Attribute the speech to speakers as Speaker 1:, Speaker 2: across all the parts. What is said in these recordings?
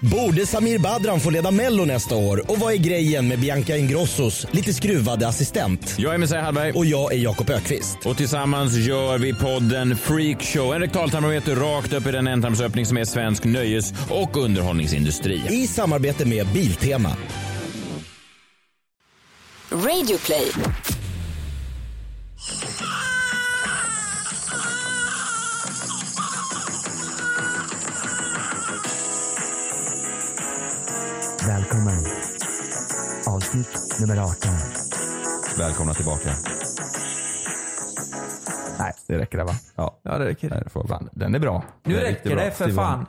Speaker 1: Borde Samir Badran få leda Mello nästa år? Och vad är grejen med Bianca Ingrossos lite skruvade assistent?
Speaker 2: Jag är Messiah Hallberg
Speaker 1: Och jag är Jakob Ökvist.
Speaker 2: och tillsammans gör vi podden Freak Show. En rektaltarmometer rakt upp i den ändtarmsöppning som är svensk nöjes och underhållningsindustri.
Speaker 1: I samarbete med Biltema.
Speaker 3: Radio play.
Speaker 4: Välkommen. Avsnitt nummer 18.
Speaker 5: Välkomna tillbaka.
Speaker 6: Nej, det räcker det va?
Speaker 5: Ja.
Speaker 6: Ja, det räcker.
Speaker 5: Nej, det får vara bra.
Speaker 6: fan, den är bra. Nu
Speaker 5: Det är
Speaker 6: räcker
Speaker 5: riktigt bra.
Speaker 6: det för
Speaker 5: Det var-
Speaker 6: fan.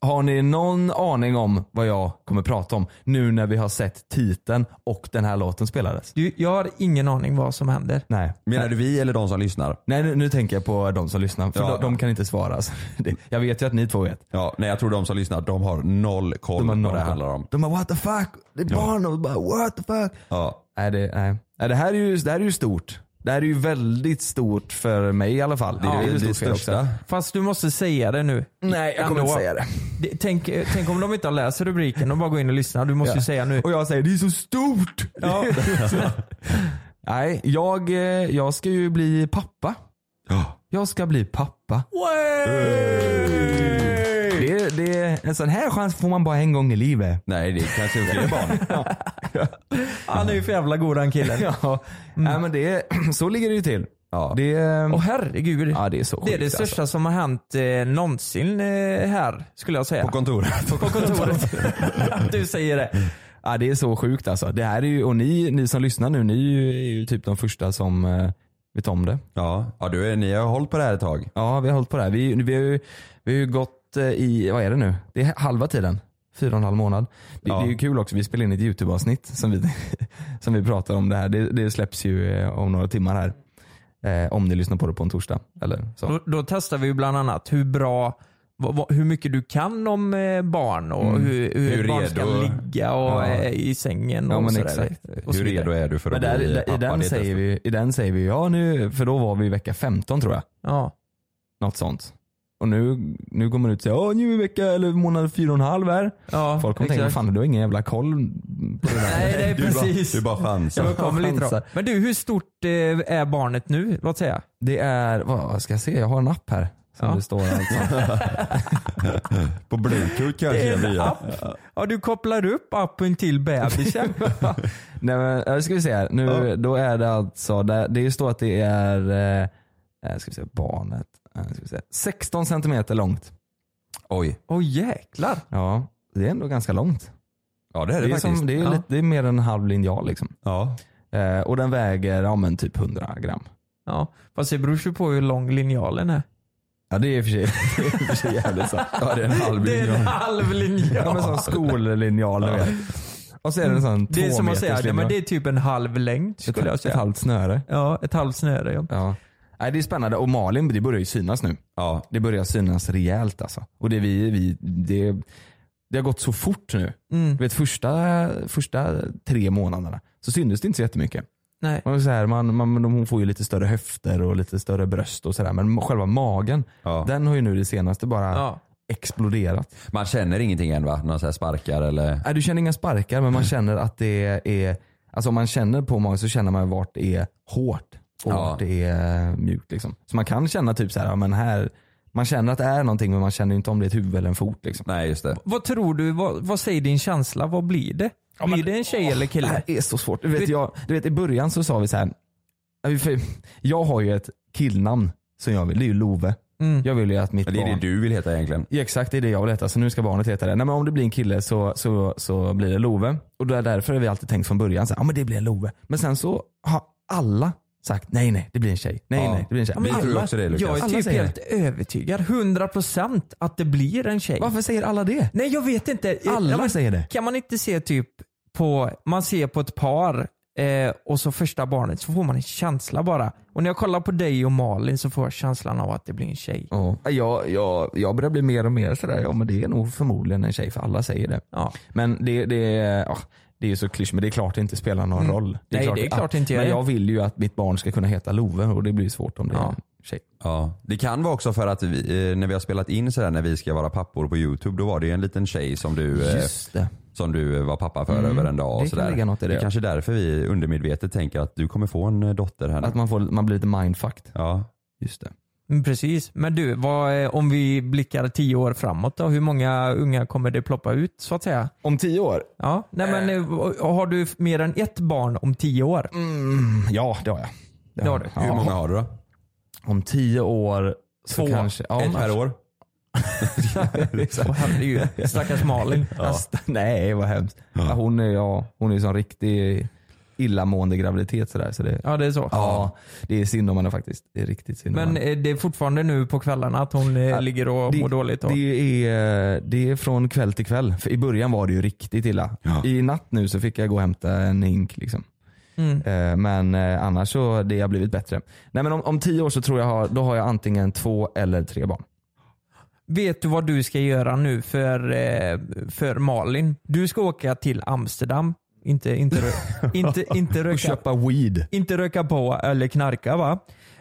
Speaker 6: Har ni någon aning om vad jag kommer prata om nu när vi har sett titeln och den här låten spelades?
Speaker 7: Du, jag har ingen aning vad som händer.
Speaker 6: Nej.
Speaker 5: Menar du vi eller de som lyssnar?
Speaker 6: Nej nu, nu tänker jag på de som lyssnar för
Speaker 5: Ja.
Speaker 6: de, de kan inte svara. alltså. Det- Jag vet ju att ni två vet.
Speaker 5: Ja, nej jag tror de som lyssnar, de har noll koll
Speaker 6: De har
Speaker 5: vad
Speaker 6: noll
Speaker 5: det handlar
Speaker 6: koll.
Speaker 5: om.
Speaker 6: De bara what the fuck? Det är
Speaker 5: Ja.
Speaker 6: barn och de bara what the fuck?
Speaker 5: Ja.
Speaker 6: Nej, det, nej. nej det, här är ju, det här är ju stort. Det här är ju väldigt stort för mig i alla fall.
Speaker 5: Det är
Speaker 6: ju
Speaker 5: det,
Speaker 6: stort för er också.
Speaker 5: största.
Speaker 7: Fast du måste säga det nu.
Speaker 6: Nej jag kommer
Speaker 7: Ändå.
Speaker 6: inte säga det.
Speaker 7: Det- Tänk, eh, tänk om de inte läser rubriken, de bara går in och lyssnar. Du måste ju säga nu.
Speaker 6: Och jag säger det är så stort!
Speaker 7: Ja.
Speaker 6: Nej, jag, eh, jag ska ju bli pappa. Jag ska bli pappa. Det, det, en sån här chans får man bara en gång i livet.
Speaker 5: Nej, det är kanske fler barn.
Speaker 7: Han är ju för jävla god den killen. Mm.
Speaker 6: Ja. Nej, men det, så ligger det ju till.
Speaker 5: Ja.
Speaker 6: Det,
Speaker 7: Åh herregud.
Speaker 6: ja, det är så
Speaker 7: det är
Speaker 6: sjukt, alltså.
Speaker 7: det största som har hänt eh, någonsin eh, här, skulle jag säga.
Speaker 5: På kontoret.
Speaker 7: På kontoret. Att du säger det.
Speaker 6: Ja det är så sjukt alltså. Det här är ju, och ni, ni som lyssnar nu, ni är ju, är ju typ de första som eh, vet om det.
Speaker 5: Ja, ja du, är- ni har hållit på det här ett tag.
Speaker 6: Ja vi har hållit på det här. Vi, vi, har, ju, vi har ju gått eh, i, vad är det nu? Det är halva tiden. Fyra och en halv månad. Det,
Speaker 5: Ja.
Speaker 6: det är ju kul också, vi spelar in ett YouTube-avsnitt som vi, som vi pratar om det här. Det, det släpps ju eh, om några timmar här. Eh, om ni lyssnar på det på en torsdag. Eller så.
Speaker 7: Då, då testar vi ju bland annat hur bra vad- vad- hur mycket du kan om eh, barn och hur, hur,
Speaker 5: Hur
Speaker 7: ett barn ska
Speaker 5: redo-
Speaker 7: ligga och,
Speaker 6: Mm. Ja.
Speaker 7: eh, i sängen
Speaker 6: Ja,
Speaker 7: och
Speaker 6: men
Speaker 7: sådär.
Speaker 6: exakt.
Speaker 7: Och så
Speaker 5: Hur
Speaker 7: vidare.
Speaker 5: redo är du för
Speaker 6: Men
Speaker 5: att
Speaker 6: där,
Speaker 5: bli
Speaker 6: där,
Speaker 5: pappa?
Speaker 6: i, den
Speaker 5: Det är
Speaker 6: säger
Speaker 5: testet.
Speaker 6: vi, I den säger vi, ja nu, för då var vi i vecka 15 tror jag.
Speaker 7: Ja.
Speaker 6: Något sånt. Och nu, nu går man ut och säger Åh, nu är vecka eller månad fyra och en halv här.
Speaker 7: Ja,
Speaker 6: Folk kommer
Speaker 7: exakt.
Speaker 6: tänka, "Vad fan du har ingen jävla koll på det där.
Speaker 7: Nej, det är
Speaker 5: Du bara,
Speaker 7: precis.
Speaker 5: du bara chansar.
Speaker 7: Jag kommer lite då.
Speaker 6: chansar.
Speaker 7: Men du, hur stort eh, är barnet nu? Låt säga.
Speaker 6: Det är, vad ska jag se, jag har en app här. Som
Speaker 7: Ja.
Speaker 6: det står alltså.
Speaker 5: På bluetooth kanske. via.
Speaker 7: Eh, Ja, du kopplar upp appen till bebisen.
Speaker 6: Nej men, ja, det ska vi se här. Nu, Då är det alltså, det, det står att det är, eh, eh, ska vi se, barnet, eh, ska vi se, 16 centimeter långt.
Speaker 5: Oj.
Speaker 7: Åh jäklar.
Speaker 6: Ja, det är ändå ganska långt.
Speaker 5: Ja det är
Speaker 6: Det
Speaker 5: det,
Speaker 6: är,
Speaker 5: faktiskt.
Speaker 6: som, det är,
Speaker 7: Ja.
Speaker 6: lite, det är mer än en halv linjal liksom.
Speaker 5: Ja.
Speaker 6: Eh, och den väger, ja men typ 100 gram.
Speaker 7: Ja, fast det beror ju på hur lång linjalen är.
Speaker 6: Ja det är i och för sig, det är i och för sig jävligt sant. Ja, det är en halv
Speaker 7: Det är en halv
Speaker 6: Ja
Speaker 7: linjal.
Speaker 6: men sån skollinjal du vet. Och så är det en sån
Speaker 7: Det är som att säga,
Speaker 6: tvåmeterslinjal.
Speaker 7: nej, men det är typ en halv längd skulle jag
Speaker 6: ett, ett
Speaker 7: säga.
Speaker 6: halvt snöre.
Speaker 7: Ja, ett halvt snöre. Ja.
Speaker 6: Ja. Nej, det är spännande och Malin det börjar ju synas nu.
Speaker 5: Ja.
Speaker 6: Det börjar synas rejält alltså. Och det, är vi, vi, det, det har gått så fort nu.
Speaker 7: Mm.
Speaker 6: Du vet första, första tre månaderna så syntes det inte så jättemycket.
Speaker 7: Nej.
Speaker 6: Man, var så här, man, man, de- hon får ju lite större höfter och lite större bröst och sådär. Men själva magen,
Speaker 5: Ja.
Speaker 6: den har ju nu det senaste bara
Speaker 7: Ja.
Speaker 6: exploderat.
Speaker 5: Man känner ingenting än va? Någon så här sparkar eller? Mm.
Speaker 6: Nej, du känner inga sparkar men man känner att det är, alltså om man känner på magen så känner man vart det är hårt och
Speaker 5: Ja.
Speaker 6: vart det är mjukt. Liksom. Så man kan känna typ så här, ja, men här, man känner att det är någonting men man känner inte om det är ett huvud eller en fot. Liksom.
Speaker 5: Nej just det.
Speaker 7: Vad tror du, vad, vad säger din känsla? Vad blir det? Blir det en tjej eller
Speaker 6: Det
Speaker 7: kille?
Speaker 6: här är så svårt. Du vet, jag, du vet, I början så sa vi så här, ja, vi- för jag har ju ett killnamn som jag vill, det är ju Love. Jag vill ju att mitt
Speaker 5: Men Mm. Det är
Speaker 6: barn
Speaker 5: det du vill heta egentligen.
Speaker 6: Ja, Exakt, det är det jag vill heta. Så nu ska barnet heta det. Nej, men om det blir en kille så, så, så blir det Love. Och det är därför har vi alltid tänkt från början att ah, men det blir en Love. Men sen så har alla sagt nej, nej, det blir en tjej. Nej,
Speaker 5: Ja.
Speaker 6: nej, det blir en tjej.
Speaker 5: Vi tror ju också det Lukas.
Speaker 7: Jag är
Speaker 6: Alla
Speaker 7: typ
Speaker 6: säger
Speaker 7: helt övertygad, 100% att det blir en tjej.
Speaker 6: Varför säger alla det?
Speaker 7: Nej jag vet inte.
Speaker 6: Alla
Speaker 7: Ja, men
Speaker 6: säger det.
Speaker 7: Kan man inte se typ på, man ser på ett par eh, och så första barnet så får man en känsla bara. Och när jag kollar på dig och Malin så får jag känslan av att det blir en tjej.
Speaker 6: Ja. Jag, jag, jag börjar bli mer och mer sådär, ja men det är nog förmodligen en tjej för alla säger det.
Speaker 7: Ja.
Speaker 6: Men det, det, ja, det är ju så klyschigt, men det är klart det inte spelar någon roll.
Speaker 7: Nej, det är klart det inte gör
Speaker 6: Men
Speaker 7: det.
Speaker 6: jag vill ju att mitt barn ska kunna heta Love och det blir svårt om det
Speaker 7: Ja.
Speaker 6: är tjej.
Speaker 5: Ja. Det kan vara också för att vi, eh, när vi har spelat in sådär när vi ska vara pappor på youtube då var det ju en liten tjej som du, eh,
Speaker 6: Just det.
Speaker 5: som du eh, var pappa för över en dag.
Speaker 6: det
Speaker 5: Och
Speaker 6: kan
Speaker 5: sådär.
Speaker 6: ligga något i det.
Speaker 5: är kanske är därför vi undermedvetet tänker att du kommer få en eh, dotter här nu.
Speaker 6: Att man, får, man blir lite mindfucked.
Speaker 5: Ja.
Speaker 6: Just det.
Speaker 7: Mm, Precis. Men du, vad, eh, om vi blickar tio år framåt då, hur många unga kommer det ploppa ut så att säga?
Speaker 6: Om tio år?
Speaker 7: Ja, nej men eh, har du mer än ett barn om tio år?
Speaker 6: Mm, ja, det har jag.
Speaker 7: Det har du.
Speaker 6: Ja.
Speaker 5: Hur många har du då?
Speaker 6: Om tio år så
Speaker 7: Två.
Speaker 6: kanske... Ja,
Speaker 5: Ett
Speaker 6: men-
Speaker 5: per år?
Speaker 7: Åh, herregud. Stackars Malin.
Speaker 6: Fast- nej, vad hemskt. Ja. hon är ju ja, hon är ju sån riktig illamående graviditet sådär. Så det, ja.
Speaker 7: Ja det är så.
Speaker 6: det är synd om henne faktiskt. Det är riktigt synd om
Speaker 7: Men
Speaker 6: henne.
Speaker 7: eh, det är fortfarande nu på kvällarna att hon eh, ligger och mår dåligt? Då.
Speaker 6: Det är, det är från kväll till kväll. För I början var det ju riktigt illa. I natt nu så fick jag gå och hämta en hink. Liksom.
Speaker 7: Mm.
Speaker 6: Eh, Men eh, annars så det har blivit bättre. Nej, men om, om tio år så tror jag har, då har jag antingen två eller tre barn.
Speaker 7: Vet du vad du ska göra nu för, eh, för Malin? Du ska åka till Amsterdam. Inte, inte, rö- inte, inte, röka,
Speaker 6: weed.
Speaker 7: inte röka på eller knarka va?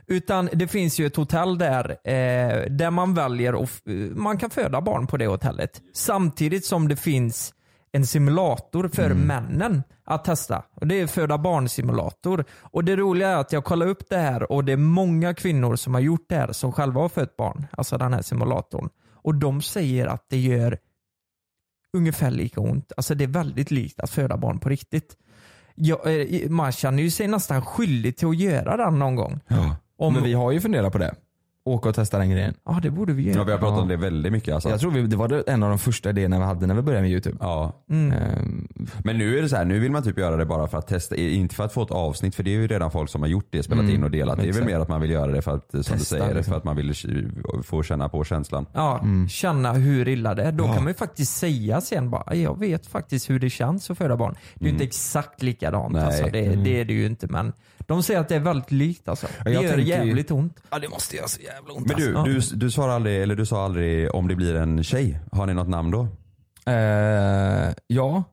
Speaker 7: Utan det finns ju ett hotell där, eh, där man väljer och man kan föda barn på det hotellet. Samtidigt som det finns en simulator för männen att testa. Och Det är föda barn-simulator. Och Det roliga är att jag kollade upp det här och det är många kvinnor som har gjort det här som själva har fött barn. Alltså den här simulatorn. Och de säger att det gör ungefär lika ont. Alltså det är väldigt likt att föda barn på riktigt. Jag, eh, man känner ju sig nästan skyldig till att göra den någon gång.
Speaker 5: Ja.
Speaker 7: Om,
Speaker 6: Men vi har ju funderat på det. Åka och testa den grejen.
Speaker 7: Ja det borde vi göra.
Speaker 5: ja vi har pratat om det väldigt mycket alltså.
Speaker 6: Jag tror vi, det var det- en av de första idéerna vi hade när vi började med YouTube.
Speaker 5: Ja.
Speaker 6: Ehm,
Speaker 5: Men nu är det så här, nu vill man typ göra det bara för att testa, inte för att få ett avsnitt för det är ju redan folk som har gjort det, spelat in och delat. Det är väl
Speaker 6: Mm. exakt.
Speaker 5: mer att man vill göra det för att, som du
Speaker 6: Testa,
Speaker 5: säger,
Speaker 6: liksom.
Speaker 5: för att man vill k- få känna på känslan.
Speaker 7: Ja, känna hur illa det är. Då kan man ju faktiskt säga sen bara, jag vet faktiskt hur det känns att föda barn. Det är ju inte exakt likadant
Speaker 5: Nej.
Speaker 7: alltså. Det, det är det ju inte men de säger att det är väldigt likt alltså. Det
Speaker 6: jag
Speaker 7: gör
Speaker 6: tänker ju-
Speaker 7: jävligt ont.
Speaker 6: Ja det måste göra så jävla ont.
Speaker 5: Men du, du, du, svarar aldrig, eller du sa aldrig om det blir en tjej. Har ni något namn då?
Speaker 6: alltså. Eh, ja.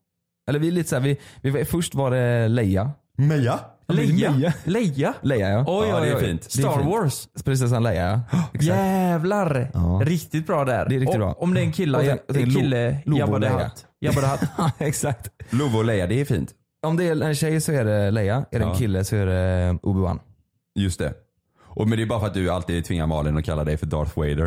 Speaker 6: Eller vi är lite såhär, vi, vi, var- först var det Leia.
Speaker 5: Meja?
Speaker 7: Leja? Leja?
Speaker 6: Leia ja.
Speaker 7: Oj, oj,
Speaker 5: Ja, det är
Speaker 7: oj.
Speaker 5: fint. Det är
Speaker 7: Star
Speaker 5: fint.
Speaker 7: Wars.
Speaker 6: Prinsessan Leia ja.
Speaker 7: Jävlar!
Speaker 6: Ja.
Speaker 7: Riktigt bra där.
Speaker 6: Det är riktigt
Speaker 7: Och-
Speaker 6: bra.
Speaker 7: Om det är en kille,
Speaker 6: Och
Speaker 7: jag,
Speaker 6: sen- sen
Speaker 7: en
Speaker 6: Lo-
Speaker 7: kille
Speaker 6: Lobo
Speaker 7: Jabba the
Speaker 6: Leia.
Speaker 7: Hutt. Jabba the Hutt.
Speaker 6: Exakt.
Speaker 5: Love och Leia, det är fint.
Speaker 6: Om det är en tjej så är det Leia, är det en
Speaker 5: Ja.
Speaker 6: kille så är det eh, Obi-Wan.
Speaker 5: Just det. Och, men det är bara för att du alltid tvingar Malin att kalla dig för Darth Vader.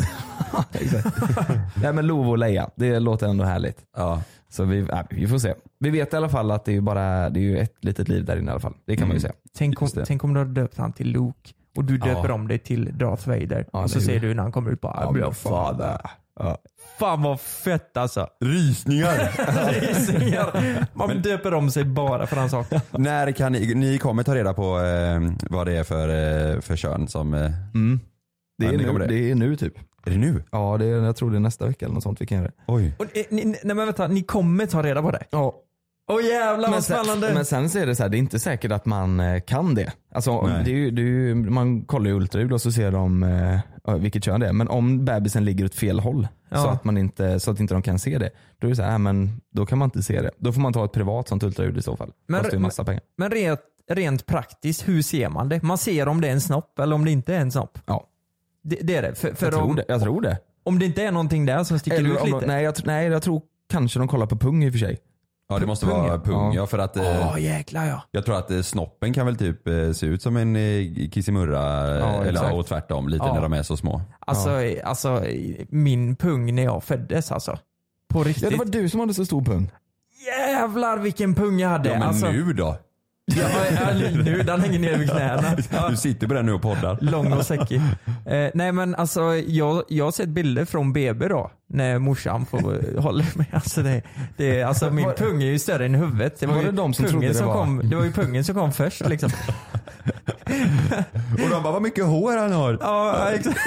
Speaker 6: Nej men Lovo och Leia, det låter ändå härligt.
Speaker 5: ja.
Speaker 6: Så vi, nej, vi får se. Vi vet i alla fall att det är ju bara det är ju ett litet liv där inne i alla fall. Det kan man ju säga.
Speaker 7: Tänk om,
Speaker 5: Just det.
Speaker 7: tänk om du har döpt han till Luke och du döper om dig till Darth Vader. och så
Speaker 6: det är
Speaker 7: säger du när han kommer ut bara I'm your father. Fan vad fett alltså.
Speaker 5: Rysningar!
Speaker 7: Rysningar. Man döper om sig bara för hans sak.
Speaker 5: När kan ni, ni kommer ta reda på eh, vad det är för, eh, för kön som... Eh,
Speaker 6: Mm. Det
Speaker 5: Men
Speaker 6: är,
Speaker 5: det kommer
Speaker 6: nu,
Speaker 5: det.
Speaker 6: det är nu typ.
Speaker 5: är det nu?
Speaker 6: Ja, det är, jag tror det är nästa vecka eller något sånt vi kan göra det.
Speaker 5: Oj.
Speaker 7: Och, eh, ni, nej men vänta, ni kommer ta reda på det?
Speaker 6: Ja,
Speaker 7: Åh jävlar
Speaker 6: men
Speaker 7: vad
Speaker 6: sen,
Speaker 7: spännande.
Speaker 6: men sen så är det så här, det är inte säkert att man eh, kan det. Alltså,
Speaker 5: Nej.
Speaker 6: det, är ju, det är ju, man kollar ju ultraljud och så ser de eh, ja, vilket kön det är. Men om bebisen ligger åt fel håll så,
Speaker 7: Ja.
Speaker 6: att man inte, så att inte de kan se det. Då är det så här, nej, men då kan man inte se det. Då får man ta ett privat sånt ultraljud i så fall.
Speaker 7: Men-
Speaker 6: Kostar ju massa pengar.
Speaker 7: Men rent, rent praktiskt, hur ser man det? Man ser om det är en snopp eller om det inte är en snopp.
Speaker 6: Ja,
Speaker 7: Det, det är det. För, för
Speaker 6: jag, tror
Speaker 7: om,
Speaker 6: det, jag tror det.
Speaker 7: om det inte är någonting där som sticker
Speaker 6: Eller
Speaker 7: ut
Speaker 6: om
Speaker 7: lite.
Speaker 6: de, nej, jag, tr- nej, jag tror kanske de kollar på pung i och för sig.
Speaker 5: Ja det måste
Speaker 6: Pung, ja.
Speaker 5: vara pung
Speaker 6: Ja.
Speaker 5: ja. För att eh,
Speaker 7: Åh jäklar ja.
Speaker 5: jag tror att eh, snoppen kan väl typ eh, se ut som en eh, kissimurra eh,
Speaker 6: Ja,
Speaker 5: eller
Speaker 6: exakt.
Speaker 5: och tvärtom lite
Speaker 7: Ja.
Speaker 5: när de är så små.
Speaker 7: Alltså, alltså min pung när jag föddes alltså. På riktigt.
Speaker 6: Ja, det var du som hade så stor pung.
Speaker 7: Jävlar vilken pung jag hade.
Speaker 5: Ja, men
Speaker 7: alltså,
Speaker 5: nu då?
Speaker 7: Ja, ja, nu, den hänger ner vid knäna. Ja,
Speaker 5: Du sitter på den nu och poddar.
Speaker 7: lång och säckig. Eh, nej men alltså jag, jag har sett bilder från BB då. När morsan får, håller med. Alltså, det, det, är- alltså min pung är ju större än huvudet.
Speaker 6: Var
Speaker 7: ju
Speaker 6: det de som
Speaker 7: pungen
Speaker 6: trodde det var?
Speaker 7: Kom, det var ju pungen som kom först liksom.
Speaker 5: Och de bara, vad mycket hår han har.
Speaker 7: Ja, ja, exakt.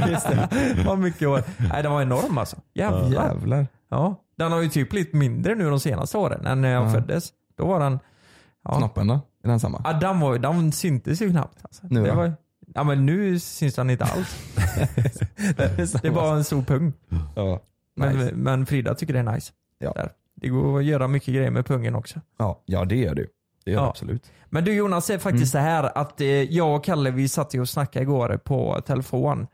Speaker 7: Just det. Vad mycket år. Nej, den var enorm alltså. Jävlar.
Speaker 6: Jävlar.
Speaker 7: Ja. Den har ju typ blivit mindre nu de senaste åren än när jag föddes. Då var den... Ja.
Speaker 6: Snoppen då? Är den samma?
Speaker 7: Ja, den, var, ju- den syntes ju knappt. Alltså.
Speaker 6: Nu
Speaker 7: det
Speaker 6: då?
Speaker 7: var, ja, men nu syns den inte alls. det är bara en stor pung.
Speaker 6: Ja.
Speaker 7: Men,
Speaker 6: Nice.
Speaker 7: men Frida tycker det är nice.
Speaker 6: Ja.
Speaker 7: Där. Det går att göra mycket grejer med pungen också.
Speaker 6: Ja, ja, det gör du. Det gör
Speaker 7: Ja.
Speaker 6: det absolut.
Speaker 7: Men du Jonas, säger faktiskt så här att eh, jag och Kalle vi satt ju och snackade igår på telefon.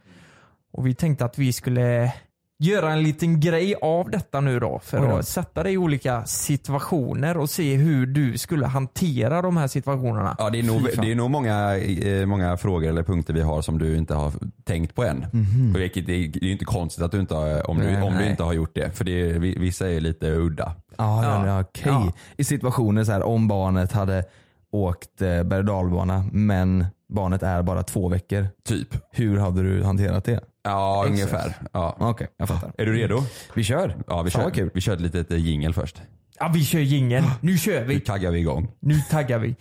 Speaker 7: Och vi tänkte att vi skulle göra en liten grej av detta nu då.
Speaker 6: Oj
Speaker 7: För
Speaker 6: då.
Speaker 7: att sätta dig i olika situationer och se hur du skulle hantera de här situationerna.
Speaker 5: Ja, det är nog, det är nog många, eh, många frågor eller punkter vi har som du inte har tänkt på än. Och vilket det är det är ju inte konstigt att du inte har, om, du,
Speaker 6: Nej,
Speaker 5: om du
Speaker 6: nej.
Speaker 5: inte har gjort det. För det är, vi- vissa är lite udda.
Speaker 6: Ja, ja. ja okej.
Speaker 7: Ja.
Speaker 6: I situationer så här om barnet hade åkt eh, berg och dalbana men barnet är bara två veckor. Typ. Hur hade du hanterat det?
Speaker 5: Ja, ungefär. Ja.
Speaker 6: Okej, jag fattar.
Speaker 5: Är du redo?
Speaker 6: Vi kör.
Speaker 5: Ja, vi
Speaker 6: Fan,
Speaker 5: kör,
Speaker 6: vad kul.
Speaker 5: vi kör ett litet eh, jingle först.
Speaker 7: Ja, vi kör jingeln. Nu kör
Speaker 5: Nu
Speaker 7: vi.
Speaker 5: taggar vi igång.
Speaker 7: Nu taggar vi.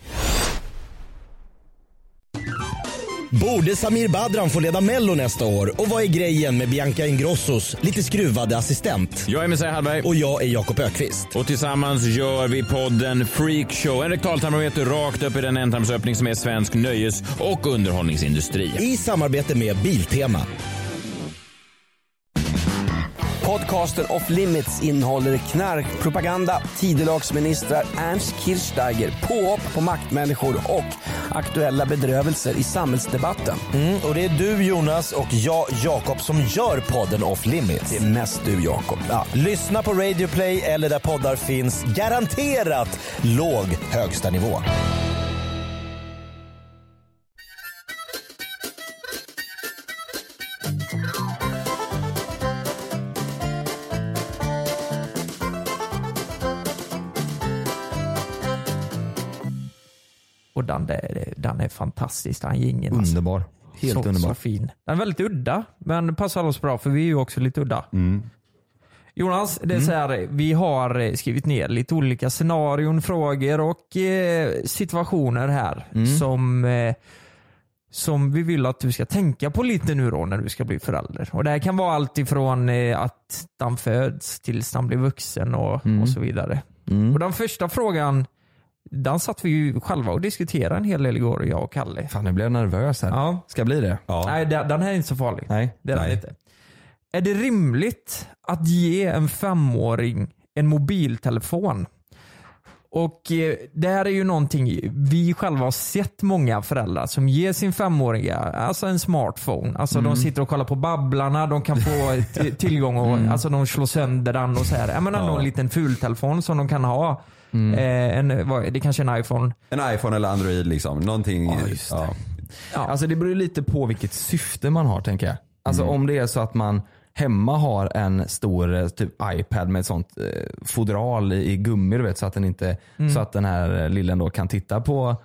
Speaker 1: Borde Samir Badran få leda Mello nästa år? Och vad är grejen med Bianca Ingrossos lite skruvade assistent?
Speaker 2: Jag är Messiah Hallberg.
Speaker 1: Och jag är Jakob Ökvist.
Speaker 2: Och tillsammans gör vi podden Freakshow. En rektaltarmometer rakt upp i den ändtarmsöppning som är svensk nöjes och underhållningsindustri.
Speaker 1: I samarbete med Biltema.
Speaker 3: Podcasten Off Limits innehåller knarkpropaganda, tidelagsministrar, Ernst Kirchsteiger, påhopp på maktmänniskor och aktuella bedrövelser i samhällsdebatten.
Speaker 8: Mm, och det är du Jonas och jag Jakob som gör podden Off Limits.
Speaker 3: Det är mest du Jakob.
Speaker 8: Ja, lyssna på Radio Play eller där poddar finns. Garanterat låg högsta nivå.
Speaker 7: Och den, där, den är fantastisk den jingeln. Alltså.
Speaker 6: Underbar. Helt
Speaker 7: så,
Speaker 6: underbar.
Speaker 7: Så fin. Den är väldigt udda, men passar alldeles bra för vi är ju också lite udda.
Speaker 6: Mm.
Speaker 7: Jonas, det är så här, vi har eh, skrivit ner lite olika scenarion, frågor och eh, situationer här
Speaker 6: Mm.
Speaker 7: som, eh, som vi vill att du ska tänka på lite nu då när du ska bli förälder. Och Det här kan vara allt ifrån eh, att den föds tills den blir vuxen och,
Speaker 6: Mm.
Speaker 7: och så vidare. Och Den första frågan, den satt vi ju själva och diskuterade en hel del igår, jag och Kalle.
Speaker 6: Fan, nu blev jag nervös här.
Speaker 7: Ja.
Speaker 6: Ska bli det?
Speaker 7: Nej, den den här är inte så farlig.
Speaker 6: Nej.
Speaker 7: Det är den
Speaker 5: Nej.
Speaker 7: inte. Är det rimligt att ge en femåring en mobiltelefon? Och eh, det här är ju någonting vi själva har sett många föräldrar som ger sin femåringa alltså en smartphone. Alltså De sitter och kollar på Babblarna, de kan få t- tillgång och alltså de slår sönder den och så här. Jag menar någon liten fultelefon som de kan ha. Eh, en, vad, det kanske är en iPhone.
Speaker 5: En iPhone eller Android liksom. Någonting. Ja.
Speaker 6: Alltså det beror ju lite på vilket syfte man har tänker jag. Alltså om det är så att man hemma har en stor eh, typ iPad med ett sånt eh, fodral i, i gummi du vet, så att den inte så att den här eh, lillen då kan titta på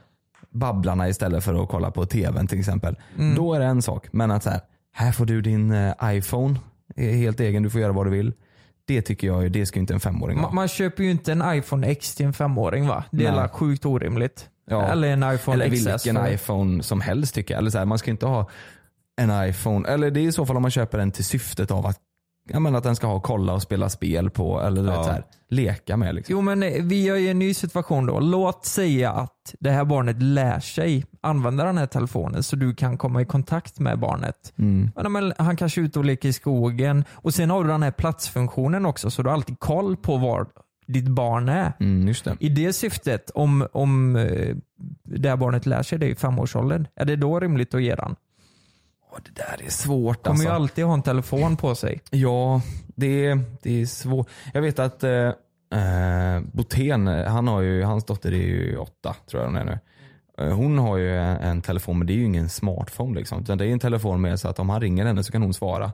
Speaker 6: Babblarna istället för att kolla på tvn till exempel. Då är det en sak. Men att så här, här får du din eh, iPhone eh, helt egen, du får göra vad du vill. Det tycker jag ju, det ska ju inte en femåring
Speaker 7: Man,
Speaker 6: ha.
Speaker 7: man köper ju inte en iPhone X till en femåring va? Det är
Speaker 6: Nej.
Speaker 7: väl sjukt orimligt.
Speaker 6: Ja.
Speaker 7: Eller en iPhone
Speaker 6: Eller
Speaker 7: XS.
Speaker 6: vilken
Speaker 7: för-
Speaker 6: iPhone som helst tycker jag. Eller så här, man ska inte ha en iPhone. Eller det är i så fall om man köper den till syftet av att, jag menar, att den ska ha kolla och spela spel på. Eller du vet, så här, leka med. Liksom.
Speaker 7: Jo men eh, vi är i en ny situation då. Låt säga att det här barnet lär sig använda den här telefonen så du kan komma i kontakt med barnet.
Speaker 6: Mm.
Speaker 7: Ja, men han kanske är ute och leker i skogen. Och sen har du den här platsfunktionen också så du har alltid koll på var ditt barn är.
Speaker 6: Mm, just det.
Speaker 7: I det syftet, om, om eh, det här barnet lär sig det i femårsåldern, är det då rimligt att ge den?
Speaker 6: det där är svårt alltså.
Speaker 7: Kommer ju alltid ha en telefon på sig.
Speaker 6: Ja, det, är- det är svårt. Jag vet att eh, eh, Botén, han har ju, hans dotter är ju åtta tror jag hon är nu. Eh, Hon har ju en, en telefon men det är ju ingen smartphone. Liksom. Utan det är en telefon med så att om han ringer henne så kan hon svara.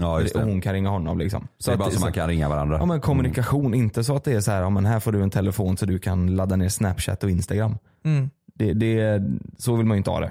Speaker 5: ja, just
Speaker 6: Och
Speaker 5: det.
Speaker 6: hon kan ringa honom. Liksom.
Speaker 5: Så det är bara
Speaker 6: att-
Speaker 5: så man kan ringa varandra. Mm.
Speaker 6: Ja men kommunikation, inte så att det är så här, ja, men här får du en telefon så du kan ladda ner snapchat och instagram.
Speaker 7: Mm.
Speaker 6: Det, det, så vill man ju inte ha det.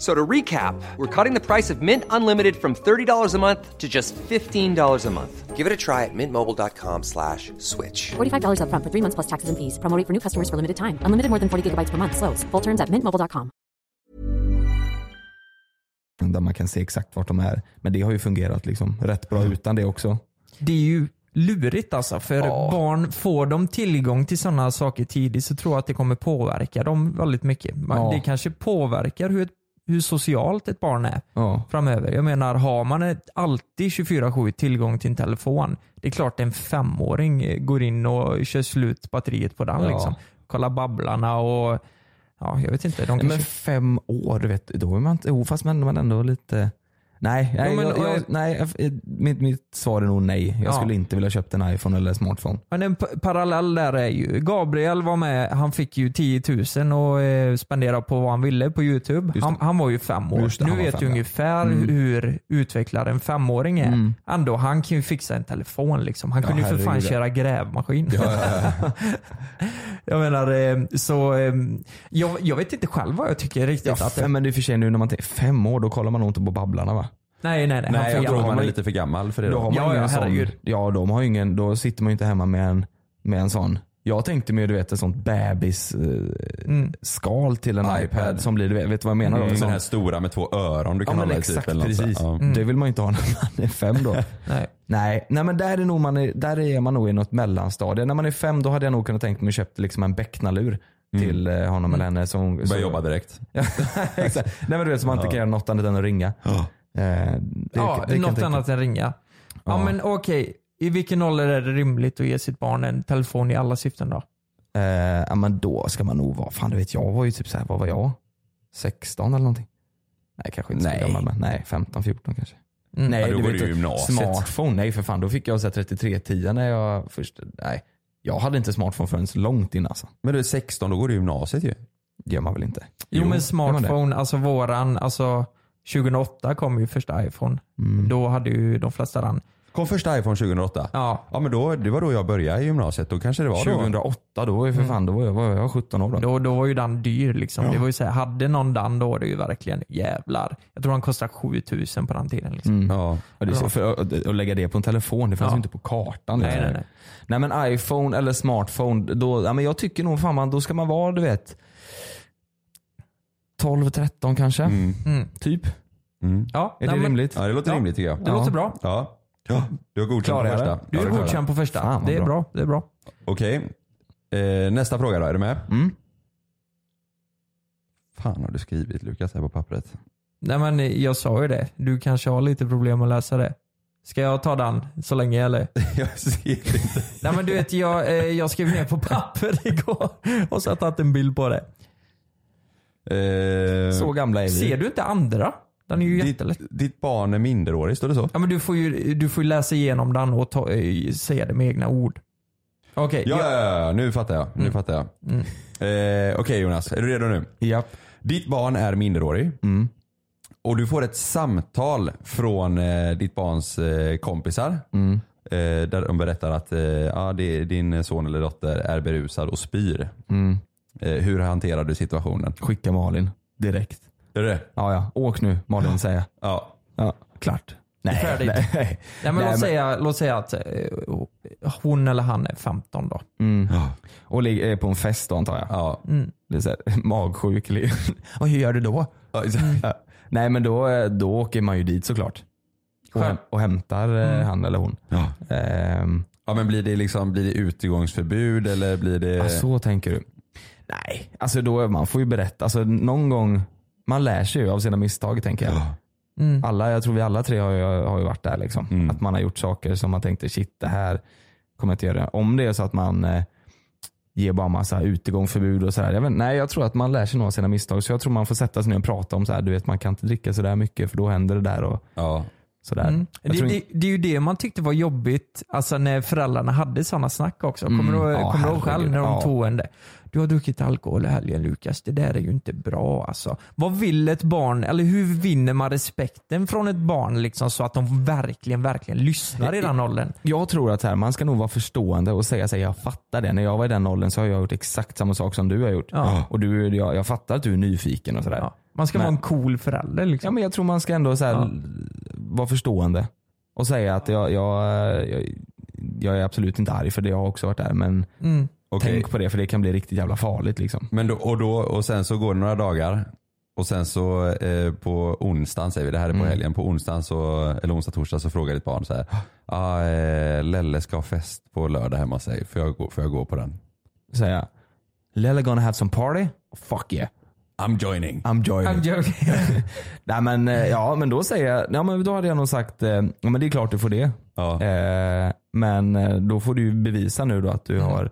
Speaker 9: So to recap, we're cutting the price of Mint Unlimited from $30 a month to just $15 a month. Give it a try at mintmobile.com slash switch.
Speaker 10: $45 upfront for three months plus taxes and fees. Promoting for new customers for limited time. Unlimited more than 40 gigabytes per month. Slows. Full terms at mintmobile.com.
Speaker 6: Där man kan se exakt vart de är. Men det har ju fungerat liksom rätt bra utan det också.
Speaker 7: Det är ju lurigt alltså. För barn, får de tillgång till sådana saker tidigt så tror jag att det kommer påverka dem väldigt mycket. Man,
Speaker 6: Ja.
Speaker 7: Det kanske påverkar hur, ett, hur socialt ett barn är
Speaker 6: Ja.
Speaker 7: framöver. Jag menar, har man ett, alltid 24-7 tillgång till en telefon, det är klart en femåring eh, går in och kör slut batteriet på den.
Speaker 6: Ja.
Speaker 7: Liksom. Kolla Babblarna och ja, jag vet inte. De
Speaker 6: Nej,
Speaker 7: kanske...
Speaker 6: men fem år, du vet, då är man inte, oh, fast man, man ändå lite... Nej, nej,
Speaker 7: Ja, men-
Speaker 6: jag, jag, nej jag, mitt, mitt svar är nog nej. Jag
Speaker 7: Ja.
Speaker 6: skulle inte vilja köpt en iPhone eller en smartphone.
Speaker 7: Men en p- parallell där är ju, Gabriel var med, han fick ju 10 000 och eh, spenderade på vad han ville på YouTube.
Speaker 6: det.
Speaker 7: Han, han var ju fem år.
Speaker 6: Just det,
Speaker 7: nu
Speaker 6: han var
Speaker 7: vet du
Speaker 6: fem, ja. Mm.
Speaker 7: ungefär hur utvecklad en femåring är. Ändå, han kan ju fixa en telefon liksom. Han kunde ju för fan
Speaker 6: herregud,
Speaker 7: köra
Speaker 6: Mm. ja.
Speaker 7: grävmaskin. jag menar, eh, så eh, jag, jag vet inte själv vad jag tycker
Speaker 6: Ja,
Speaker 7: riktigt. att det,
Speaker 6: fem, men det är för sig nu när man tänker fem år, då kollar man nog inte på Babblarna va?
Speaker 7: nej, nej, nej.
Speaker 5: Nej,
Speaker 7: han
Speaker 5: jag
Speaker 7: får-
Speaker 5: tror
Speaker 7: ja,
Speaker 5: man är
Speaker 7: men-
Speaker 5: lite för gammal för det.
Speaker 6: Då har man
Speaker 7: Ja,
Speaker 6: ingen
Speaker 7: ja, herregud.
Speaker 6: sån, ja, de har ingen, då sitter man ju inte hemma med en, med en sån. Jag tänkte mig du vet ett sånt
Speaker 7: Mm.
Speaker 6: bebisskal till en iPad. som blir, du vet, vet du vad jag menar? då? En
Speaker 5: Mm.
Speaker 6: sån-
Speaker 5: Den här stora med två öron du
Speaker 6: Ja
Speaker 5: kan
Speaker 6: men
Speaker 5: hålla i typ.
Speaker 6: exakt,
Speaker 5: eller något så här.
Speaker 6: precis.
Speaker 5: Ja.
Speaker 6: Det vill man ju inte ha när man är fem då.
Speaker 7: Mm. Nej.
Speaker 6: Nej. Nej men där är, nog man är, där är man nog i något mellanstadie. När man är fem då hade jag nog kunnat tänkt mig att köpa liksom en becknarlur
Speaker 7: Mm.
Speaker 6: till eh, honom eller henne. Så hon,
Speaker 5: Börja
Speaker 6: så-
Speaker 5: jobba direkt.
Speaker 6: Ja, exakt. Nej men du vet så man inte kan göra något annat än att ringa. Eh, det-
Speaker 7: Ja,
Speaker 6: det kan jag
Speaker 7: något
Speaker 6: tänka-
Speaker 7: annat än ringa. Ja, men okej. I vilken ålder är det rimligt att ge sitt barn en telefon i alla syften då?
Speaker 6: Eh, ja, men då ska man nog vara, fan du vet jag var ju typ såhär, vad var jag? 16 eller någonting? Nej kanske inte
Speaker 5: Nej.
Speaker 6: så gammal men nej 15, 14 kanske.
Speaker 7: Mm.
Speaker 6: Nej,
Speaker 5: Ja, då
Speaker 6: du
Speaker 5: går
Speaker 6: vet
Speaker 5: du
Speaker 6: ju-
Speaker 5: gymnasiet.
Speaker 6: Smartphone, nej för fan. Då fick jag 3310 när jag först, nej. Jag hade inte smartphone förrän långt innan alltså.
Speaker 5: Men du är 16, då går du gymnasiet ju.
Speaker 6: Det gör man väl inte?
Speaker 7: Jo, men
Speaker 6: det var
Speaker 7: smartphone, alltså våran, alltså 2008 kom ju första iPhone.
Speaker 6: Mm.
Speaker 7: Då hade ju de flesta den.
Speaker 5: Kom första iPhone 2008?
Speaker 7: Ja.
Speaker 5: Ja men då, det var då jag började i gymnasiet. Då kanske det var då.
Speaker 6: 2008, då var jag för fan, då var jag, var jag 17 år då.
Speaker 7: Då, då var ju den dyr liksom. Det var ju så här, hade någon den då var det ju verkligen jävlar. Jag tror han kostade 7000 på den tiden.
Speaker 6: Mm.
Speaker 7: Liksom.
Speaker 5: Ja.
Speaker 6: Ja, det är så, för att, att lägga det på en telefon, det fanns
Speaker 7: Ja.
Speaker 6: ju inte på kartan.
Speaker 7: Nej, nej, nej.
Speaker 6: nej men iPhone eller smartphone, då, ja, men jag tycker nog fan man, då ska man vara du vet 12-13 kanske.
Speaker 5: Mm.
Speaker 6: Typ.
Speaker 7: Ja,
Speaker 6: Är
Speaker 7: nej,
Speaker 6: det
Speaker 7: men
Speaker 6: rimligt?
Speaker 5: ja, det låter rimligt tycker jag.
Speaker 7: Det låter bra.
Speaker 5: Ja. ja. Du har godkänt på
Speaker 6: Klarar jag
Speaker 5: första.
Speaker 7: Du
Speaker 6: det?
Speaker 5: Ja,
Speaker 7: är
Speaker 5: det klarar jag.
Speaker 7: godkänd på första.
Speaker 6: Fan, vad
Speaker 7: det är
Speaker 6: bra.
Speaker 7: bra. Det är bra.
Speaker 5: Okej. Eh, nästa fråga då, är du med?
Speaker 6: Mm.
Speaker 5: Fan har du skrivit Lukas här på pappret?
Speaker 7: Nej men jag sa ju det. Du kanske har lite problem att läsa det. Ska jag ta den så länge eller?
Speaker 5: jag ser inte.
Speaker 7: Nej men du vet jag, eh, jag skrev ner på papper igår och så har jag tagit en bild på det.
Speaker 5: Eh,
Speaker 6: Så gamla är vi.
Speaker 7: Ser du inte andra? Den är ju jättelätt.
Speaker 5: ditt, ditt barn är minderårig, står det så?
Speaker 7: Ja men du får ju du får ju läsa igenom den och ta, eh, säga det med egna ord. Okej.
Speaker 5: Ja,
Speaker 7: jag-
Speaker 5: ja, ja, nu fattar jag. Nu fattar jag. Eh, Okej Jonas, är du redo nu?
Speaker 6: Japp.
Speaker 5: Ditt barn är minderårig.
Speaker 6: Mm.
Speaker 5: Och du får ett samtal från eh, ditt barns eh, kompisar. Eh, där de berättar att eh, ja, det, din son eller dotter är berusad och spyr. Eh, hur hanterar du situationen?
Speaker 6: Skicka Malin direkt.
Speaker 5: Är det det?
Speaker 6: Ja, ja. Åk nu Malin säger jag.
Speaker 5: Ja.
Speaker 6: Ja. Klart. Nej,
Speaker 7: Färdigt.
Speaker 6: nej.
Speaker 7: Nej, men
Speaker 6: Nej,
Speaker 7: låt,
Speaker 6: men-
Speaker 7: Säga, låt säga att eh, hon eller han är 15 då.
Speaker 6: Och ligg- är på en fest då antar jag. Mm.
Speaker 5: ja.
Speaker 6: Det är så här, magsjuk. li- Och hur gör du då? Ja. Nej men då, eh, då åker man ju dit såklart. Och,
Speaker 7: Själv.
Speaker 6: häm- och hämtar eh, han eller hon.
Speaker 5: Ja.
Speaker 6: Ehm,
Speaker 5: ja men blir det, liksom, blir det utegångsförbud eller blir det...
Speaker 6: ja, så tänker du. Nej, alltså då, man får ju berätta. Alltså, någon gång, man lär sig ju av sina misstag tänker jag. Mm. Alla, jag tror vi alla tre har ju, har ju varit där. Liksom.
Speaker 5: Mm.
Speaker 6: Att man har gjort saker som man tänkte shit det här kommer jag inte göra. Om det är så att man eh, ger bara massa utegångsförbud och sådär. Jag vet, nej jag tror att man lär sig nog av sina misstag. Så jag tror man får sätta sig ner och prata om så här, du vet man kan inte dricka sådär mycket för då händer det där. Och,
Speaker 5: ja.
Speaker 6: Sådär. Jag
Speaker 7: Det,
Speaker 6: tror
Speaker 7: det, det är ju det man tyckte var jobbigt, alltså när föräldrarna hade sådana snack också. Kommer
Speaker 6: Mm,
Speaker 7: du,
Speaker 6: ja,
Speaker 7: kommer du ihåg
Speaker 6: herregud,
Speaker 7: själv när de
Speaker 6: ja.
Speaker 7: tog en det? Du har druckit alkohol i helgen Lukas, det där är ju inte bra alltså. Vad vill ett barn, eller hur vinner man respekten från ett barn liksom, så att de verkligen, verkligen lyssnar i den åldern?
Speaker 6: Jag tror att så här, man ska nog vara förstående och säga så här, jag fattar det. När jag var i den åldern så har jag gjort exakt samma sak som du har gjort.
Speaker 7: Ja.
Speaker 6: Och du, jag, jag fattar att du är nyfiken och sådär.
Speaker 7: Man ska
Speaker 6: Men-
Speaker 7: vara en cool förälder. Liksom.
Speaker 6: Ja, men jag tror man ska ändå så här, vara förstående och säga att jag, jag, jag, jag är absolut inte arg för det, jag har också varit där. Men
Speaker 7: Mm.
Speaker 5: Okej.
Speaker 6: tänk på det för det kan bli riktigt jävla farligt. Liksom.
Speaker 5: Men då, och, då, och sen så går det några dagar. Och sen så eh, på onsdagen, säger vi, det här är på
Speaker 6: Mm.
Speaker 5: helgen. På onsdagen, så, eller onsdag, torsdag så frågar ditt barn så här. Ah, eh, Lelle ska ha fest på lördag hemma hos sig. Får jag, gå, får jag gå på den?
Speaker 6: Säga, Lella gonna have some party? Fuck yeah.
Speaker 5: I'm joining.
Speaker 6: I'm joining. Nej, men, eh, ja, men då säger jag, ja, men då hade jag nog sagt, eh, ja, men det är klart du får det.
Speaker 5: Ja.
Speaker 6: Eh, men eh, då får du ju bevisa nu då att du har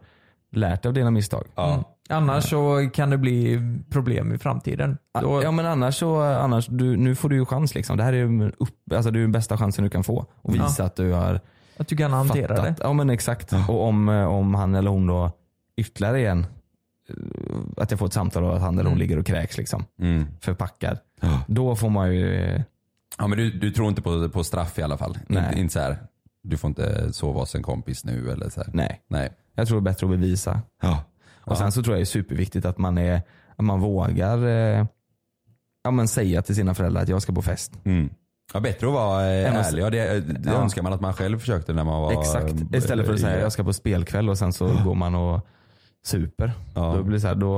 Speaker 6: lärt dig av dina misstag. Mm.
Speaker 5: Ja.
Speaker 7: Annars så kan det bli problem i framtiden. Då,
Speaker 6: Ja men annars så, annars, du, nu får du ju chans liksom. Det här är ju upp, alltså, det är ju den bästa chansen du kan få. Och visa att du har
Speaker 7: att du kan hantera det.
Speaker 6: fattat. Ja men exakt. Och om, eh, om han eller hon då ytterligare igen, eh, att jag får ett samtal och att han eller hon ligger och kräks liksom.
Speaker 5: Mm.
Speaker 6: Förpackad. Då får man ju, eh,
Speaker 5: Ja, men du, du tror inte på, på straff i alla fall?
Speaker 6: Nej.
Speaker 5: Inte, inte så här, du får inte sova hos en kompis nu eller så här.
Speaker 6: nej.
Speaker 5: Nej.
Speaker 6: Jag tror det är bättre att bevisa.
Speaker 5: Ja.
Speaker 6: Och sen så tror jag det är superviktigt att man, är, att man vågar eh, ja, men säga till sina föräldrar att jag ska på fest.
Speaker 5: Mm. Ja, bättre att vara eh,
Speaker 6: Än att-
Speaker 5: ärlig. Ja, det det
Speaker 6: Ja.
Speaker 5: önskar man att man själv försökte när man var eh,
Speaker 6: Exakt. Istället för att säga jag ska på spelkväll och sen så går man och super.
Speaker 5: Ja.
Speaker 6: Då blir det så här, då,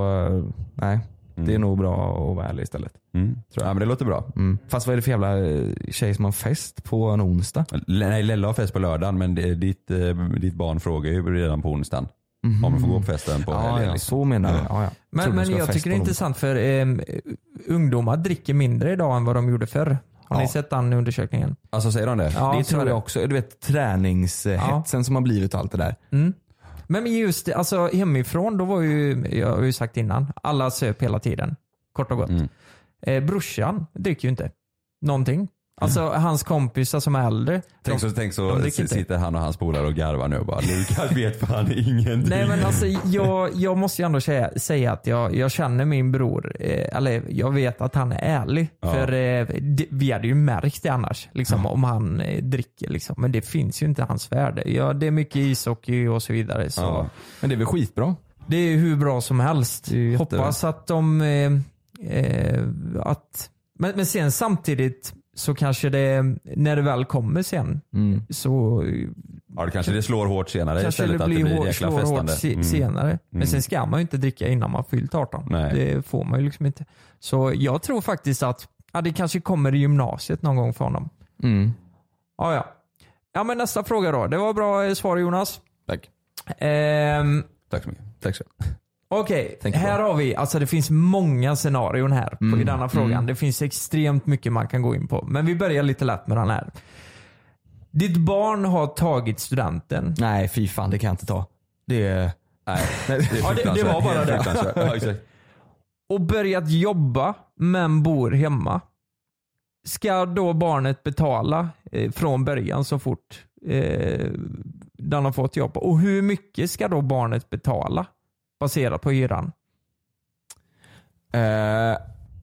Speaker 6: nej. Det är nog bra att vara ärlig istället.
Speaker 5: Mm. Tror jag. Ja, men det låter bra.
Speaker 6: Mm. Fast vad är det för jävla eh, tjej som har fest på en onsdag?
Speaker 5: L- Nej, Lella har fest på lördagen men det, ditt, eh, ditt barn frågar ju redan på onsdagen om du får gå på festen på
Speaker 6: Mm. Ja,
Speaker 5: helgen.
Speaker 6: ja,
Speaker 5: liksom.
Speaker 6: så menar jag. Ja, ja.
Speaker 7: Men,
Speaker 6: Tror du
Speaker 7: men
Speaker 6: ska ha
Speaker 7: jag
Speaker 6: fest
Speaker 7: tycker det
Speaker 6: på
Speaker 7: är
Speaker 6: en
Speaker 7: intressant för ehm, ungdomar dricker mindre idag än vad de gjorde förr. Har ni
Speaker 6: Ja.
Speaker 7: sett den undersökningen?
Speaker 5: Alltså säger de det?
Speaker 7: Ja,
Speaker 6: onsdag? Det
Speaker 7: så är
Speaker 6: tror
Speaker 7: det.
Speaker 6: jag också. Du vet träningshetsen som har blivit och allt det där.
Speaker 7: Men just det, alltså hemifrån, då var ju, jag har ju sagt innan, alla söp hela tiden. Kort och gott.
Speaker 5: Mm.
Speaker 7: Eh, brorsan dricker ju inte någonting. Alltså hans kompisar som är äldre.
Speaker 5: Tänk så,
Speaker 7: de,
Speaker 5: tänk
Speaker 7: de
Speaker 5: så
Speaker 7: dricker
Speaker 5: s-
Speaker 7: inte.
Speaker 5: sitter han och hans polare och garvar nu och bara Lukas vet fan ingenting.
Speaker 7: Nej men alltså jag, jag måste ju ändå säga, säga att jag, jag känner min bror, eh, eller jag vet att han är ärlig.
Speaker 5: Ja.
Speaker 7: För eh, det, vi hade ju märkt det annars, liksom, om han eh, dricker. Liksom. Men det finns ju inte i hans värld. Ja, det är mycket ishockey och så vidare. Så
Speaker 5: Ja.
Speaker 6: Men det är väl skitbra?
Speaker 7: Det är ju hur bra som helst. Hoppas att de... Eh, eh, att, men, men sen samtidigt så kanske det, när det väl kommer sen,
Speaker 5: Mm.
Speaker 7: så eh,
Speaker 5: Ja, det kanske det slår hårt senare
Speaker 7: kanske
Speaker 5: istället
Speaker 7: det
Speaker 5: att det
Speaker 7: blir
Speaker 5: blir
Speaker 7: hår,
Speaker 5: ett jäkla
Speaker 7: slår hårt
Speaker 5: festande.
Speaker 7: se,
Speaker 5: Mm.
Speaker 7: senare.
Speaker 5: Mm.
Speaker 7: Men sen ska man ju inte dricka innan man fyllt 18.
Speaker 5: Nej.
Speaker 7: Det får man ju liksom inte. Så jag tror faktiskt att ja, det kanske kommer i gymnasiet någon gång för honom.
Speaker 6: Mm.
Speaker 7: Ja, ja. ja men nästa fråga då. Det var bra eh, svar Jonas.
Speaker 5: Tack.
Speaker 7: Ehm,
Speaker 5: Tack så mycket.
Speaker 6: Tack så
Speaker 7: Okej,
Speaker 6: Tänker
Speaker 7: här har vi, alltså det finns många scenarion här på,
Speaker 5: Mm.
Speaker 7: i denna frågan. Det finns extremt mycket man kan gå in på. Men vi börjar lite lätt med den här. Ditt barn har tagit studenten.
Speaker 6: Nej fy fan det kan jag inte ta. Det är...
Speaker 5: Nej, det, är
Speaker 7: Ja, det- det var bara det.
Speaker 5: fruktansvärt. Ja, exakt.
Speaker 7: och börjat jobba men bor hemma. Ska då barnet betala eh, från början så fort eh, den har fått jobb? Och hur mycket ska då barnet betala baserat på hyran?
Speaker 6: Eh,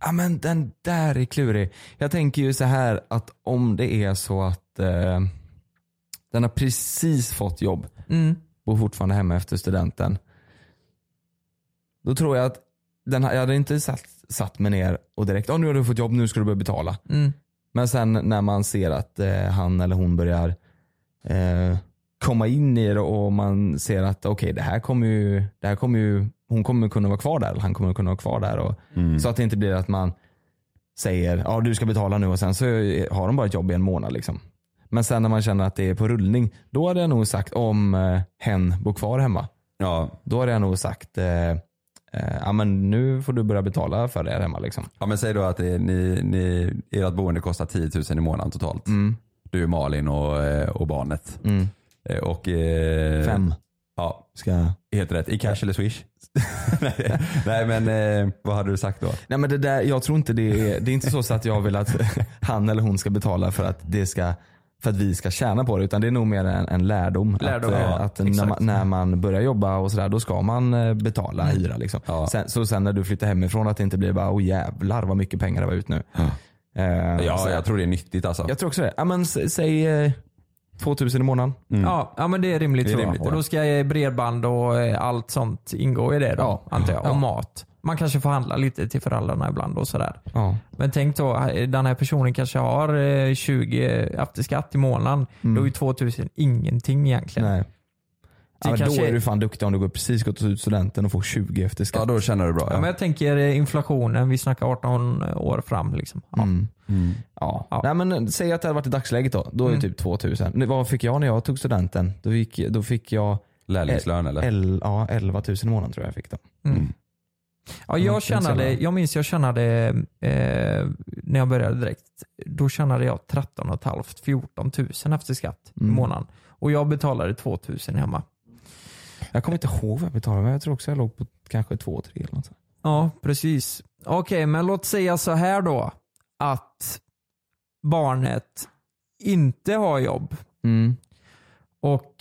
Speaker 6: Ja men den där är klurig. Jag tänker ju så här att om det är så att eh, den har precis fått jobb,
Speaker 7: Mm.
Speaker 6: bor fortfarande hemma efter studenten. Då tror jag att den, jag hade inte satt, satt mig ner och direkt, oh, nu har du fått jobb, nu ska du börja betala.
Speaker 7: Mm.
Speaker 6: Men sen när man ser att eh, han eller hon börjar eh, komma in i det och man ser att okej det här kommer ju, det här kommer ju hon kommer kunna vara kvar där, eller han kommer kunna vara kvar där. Och, Så att det inte blir att man säger ja du ska betala nu och sen så har de bara ett jobb i en månad. Liksom. Men sen när man känner att det är på rullning, då hade jag nog sagt om eh, hen bor kvar hemma.
Speaker 5: Ja,
Speaker 6: Då hade jag nog sagt eh, eh, ja, men nu får du börja betala för det här hemma. Liksom.
Speaker 5: Ja men säg då att det, ni, ni, ert boende kostar 10 000 i månaden
Speaker 6: Mm.
Speaker 5: totalt. Du, Malin och, eh, och barnet. Eh, Och, eh,
Speaker 6: Fem.
Speaker 5: Ja,
Speaker 6: Ska...
Speaker 5: helt rätt. I cash eller swish? nej, nej men eh, vad hade du sagt då?
Speaker 6: Nej men det där, jag tror inte det är, det är inte så, så att jag vill att han eller hon ska betala för att, det ska, för att vi ska tjäna på det. Utan det är nog mer en, en lärdom.
Speaker 7: Lärdom,
Speaker 6: att eh,
Speaker 7: ja,
Speaker 6: att när, man, när man börjar jobba och sådär, då ska man eh, betala hyra. Liksom. Sen, så sen när du flyttar hemifrån att det inte blir bara, åh jävlar vad mycket pengar det var ut nu. Eh,
Speaker 5: Ja,
Speaker 6: så-
Speaker 5: jag tror det är nyttigt alltså.
Speaker 6: jag tror också det. Ja, men, s- säg eh, 2000 i månaden.
Speaker 7: Ja, ja, men det är rimligt
Speaker 5: Mm. Det är
Speaker 7: tror jag.
Speaker 5: rimligt,
Speaker 7: och
Speaker 5: ja.
Speaker 7: då ska eh, bredband och eh, allt sånt ingå i det då,
Speaker 6: Ja.
Speaker 7: antar jag. Och
Speaker 6: Ja.
Speaker 7: mat. Man kanske får handla lite till föräldrarna ibland och sådär.
Speaker 6: Ja.
Speaker 7: Men tänk då, eh, den här personen kanske har eh, 20 efter skatt i månaden. Mm. Då är ju 2000 ingenting egentligen.
Speaker 6: Mm. Nej. Ja, men Då
Speaker 7: kanske-
Speaker 6: är du fan duktig om du går precis gått ut studenten och får 20 efter skatt.
Speaker 5: Ja, då känner du bra.
Speaker 7: Ja, men jag tänker eh, inflationen, vi snackar 18 år fram. Liksom. Ja.
Speaker 6: Mm. Ja.
Speaker 7: Ja.
Speaker 6: Nej, men eh, säg att det hade varit i dagsläget då. Då är det
Speaker 7: Mm.
Speaker 6: typ 2000. Nu, vad fick jag när jag tog studenten? Då fick, då fick jag
Speaker 5: Lärlingslön eller?
Speaker 6: el, ja, 11 000 i månaden tror jag jag fick då.
Speaker 7: Ja,
Speaker 6: Mm,
Speaker 7: jag,
Speaker 6: det är inte så
Speaker 7: tjänade,
Speaker 6: jävla-
Speaker 7: jag minns jag tjänade, eh, när jag började direkt, då tjänade jag 13 halvt, 14 000 efter skatt i
Speaker 6: Mm.
Speaker 7: månaden. Och jag betalade 2 000 hemma.
Speaker 6: Jag kommer inte ihåg vad jag betalade men jag tror också jag låg på kanske 2 3 eller något sånt.
Speaker 7: Ja, precis. Okej, men låt säga så här då. Att barnet inte har jobb
Speaker 5: Mm.
Speaker 7: och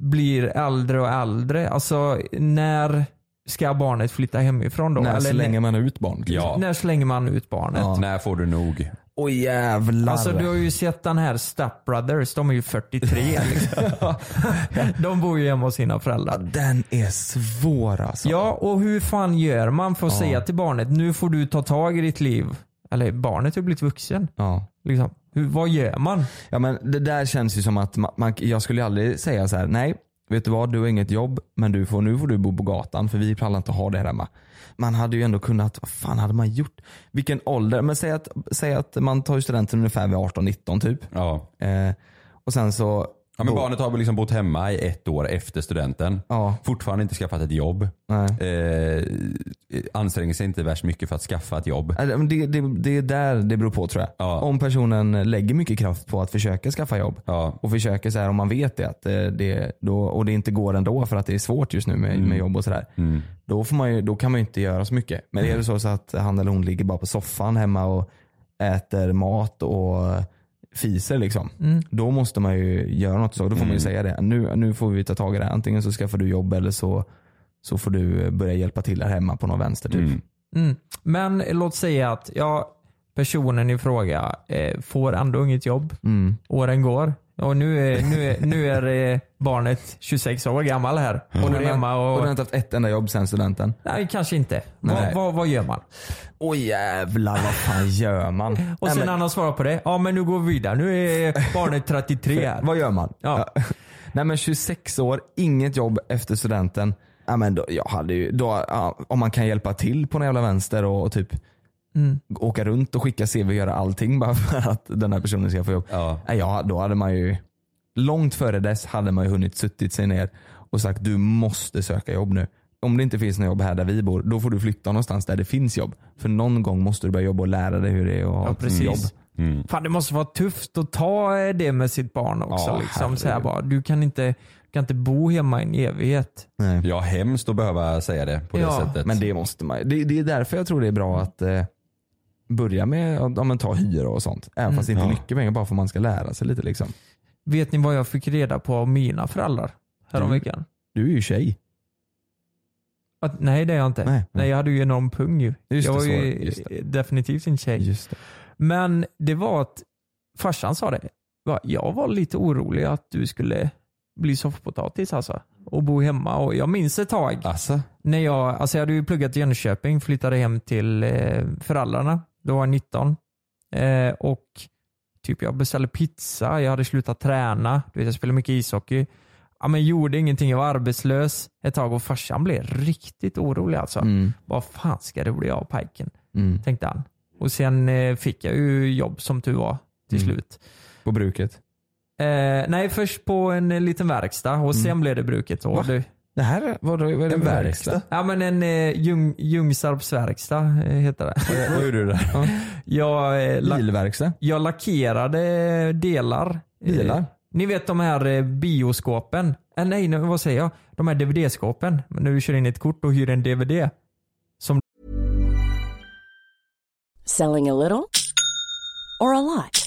Speaker 7: blir äldre och äldre. Alltså när ska barnet flytta hemifrån då?
Speaker 6: När
Speaker 7: Eller
Speaker 6: slänger man liksom. ut barnet?
Speaker 5: Ja.
Speaker 7: när slänger man ut barnet?
Speaker 6: Ja.
Speaker 5: När får du nog?
Speaker 6: Åh jävlar.
Speaker 7: Alltså du har ju sett den här Step Brothers, de är ju 43 liksom. De bor ju hemma hos sina föräldrar.
Speaker 6: Den är svår alltså.
Speaker 7: Ja, och hur fan gör man för att säga till barnet, nu får du ta tag i ditt liv. Eller barnet har ju blivit vuxen.
Speaker 6: ja.
Speaker 7: Liksom. Hur, vad gör man?
Speaker 6: Ja men det där känns ju som att man, man, jag skulle ju aldrig säga så här: nej vet du vad du har inget jobb men du får, nu får du bo på gatan för vi pallar inte ha det här hemma. Man hade ju ändå kunnat, vad fan hade man gjort? Vilken ålder, men säg att, säg att man tar ju studenten ungefär vid 18-19 typ.
Speaker 5: Ja.
Speaker 6: Eh, och sen så,
Speaker 5: Ja, men barnet har väl liksom bott hemma i ett år efter studenten.
Speaker 6: Ja.
Speaker 5: Fortfarande inte skaffat ett jobb.
Speaker 6: Nej.
Speaker 5: Eh, anstränger sig inte värst mycket för att skaffa ett jobb.
Speaker 6: Eller, men det, det, det är där det beror på tror jag.
Speaker 5: Ja.
Speaker 6: Om personen lägger mycket kraft på att försöka skaffa jobb
Speaker 5: Ja.
Speaker 6: och försöker så här om man vet det, att eh, det då, och det inte går ändå för att det är svårt just nu med,
Speaker 5: Mm.
Speaker 6: med jobb och sådär. Då, får man ju- då kan man ju inte göra så mycket. Men är det så, så att han eller hon ligger bara på soffan hemma och äter mat och fiser liksom. Då måste man ju göra något. Så. Då får man
Speaker 5: Mm.
Speaker 6: ju säga det. Nu, nu får vi ta tag i det. här. Antingen så skaffar du jobb eller så, så får du eh, börja hjälpa till här hemma på någon vänster typ.
Speaker 7: Mm. Men låt säga att ja, personen i fråga eh, får ändå inget jobb.
Speaker 6: Mm.
Speaker 7: Åren går. Och nu är, nu är, nu är eh, barnet 26 år gammal här. Och är hemma
Speaker 6: Mm. Och
Speaker 7: och...
Speaker 6: den har inte haft ett enda jobb sen studenten.
Speaker 7: Nej, kanske inte. Vad,
Speaker 6: Nej.
Speaker 7: vad, vad gör man?
Speaker 6: Åh jävlar vad fan gör man?
Speaker 7: Och sen när han har svarat på det. Ja, men nu går vi vidare. Nu är barnet 33 här.
Speaker 6: vad gör man?
Speaker 7: Ja.
Speaker 6: Nej men 26 år, inget jobb efter studenten. Ja, men då, jag hade ju, då, ja, om man kan hjälpa till på den jävla vänster och, och typ åka runt och skicka CV och göra allting bara för att den här personen ska få jobb.
Speaker 5: Ja.
Speaker 6: Nej, ja, då hade man ju, långt före dess hade man ju hunnit suttit sig ner och sagt du måste söka jobb nu. Om det inte finns något jobb här där vi bor, då får du flytta någonstans där det finns jobb. För någon gång måste du börja jobba och lära dig hur det är att ha
Speaker 7: Ja,
Speaker 6: ett
Speaker 7: precis.
Speaker 6: jobb.
Speaker 7: Fan, det måste vara tufft att ta eh, det med sitt barn också.
Speaker 6: Ja,
Speaker 7: liksom, så här
Speaker 6: herregud.
Speaker 7: bara, du kan inte, du kan inte bo hemma i en evighet.
Speaker 6: Nej.
Speaker 5: Ja, hemskt att behöva säga det på
Speaker 7: Ja,
Speaker 5: det sättet.
Speaker 6: Men det måste man det, det är därför jag tror det är bra att eh, börja med att ja, men ta hyra och sånt. Även fast det inte är mycket pengar, bara för att man ska lära sig lite. Liksom.
Speaker 7: Vet ni vad jag fick reda på av mina
Speaker 6: Mm.
Speaker 7: föräldrar häromveckan?
Speaker 6: Du är ju tjej.
Speaker 7: Att, nej det är jag inte.
Speaker 6: Nej,
Speaker 7: Nej,
Speaker 6: nej.
Speaker 7: jag hade ju enorm pung ju.
Speaker 6: Mm. Just
Speaker 7: jag
Speaker 6: det,
Speaker 7: var
Speaker 6: så var
Speaker 7: ju
Speaker 6: det, just
Speaker 7: definitivt inte tjej.
Speaker 6: Just det.
Speaker 7: Men det var att farsan sa det. Va, Jag var lite orolig att du skulle bli soffpotatis alltså. Och bo hemma. Och jag minns ett tag
Speaker 5: Alltså?
Speaker 7: när jag, alltså jag hade ju pluggat i Jönköping, flyttade hem till eh, föräldrarna. Då var jag 19. Eh, och typ jag beställde pizza, jag hade slutat träna, du vet jag spelade mycket ishockey. Ja, men gjorde ingenting, jag var arbetslös ett tag och farsan blev riktigt orolig alltså.
Speaker 6: Mm.
Speaker 7: Vad fan ska det bli av pajken?
Speaker 6: Mm.
Speaker 7: Tänkte han. Och sen eh, fick jag ju jobb som tur var till
Speaker 6: Mm.
Speaker 7: slut.
Speaker 6: På bruket.
Speaker 7: Eh, nej, först på en eh, liten verkstad
Speaker 6: Mm.
Speaker 7: och sen blev det bruket. Och det,
Speaker 6: Det här var, det, var det en verkstad?
Speaker 7: Ja men en eh, Ljung, Ljungsarps verkstad eh, heter det.
Speaker 5: Vad gjorde du där?
Speaker 7: Jag, eh, la,
Speaker 6: Bilverkstad?
Speaker 7: jag lackerade delar. Eh,
Speaker 6: Bilar?
Speaker 7: Ni vet de här eh, bioskåpen? eh, nej, nu, vad säger jag? De här DVD-skåpen. När du kör in ett kort och hyr en DVD. Som
Speaker 11: Selling a little or a lot?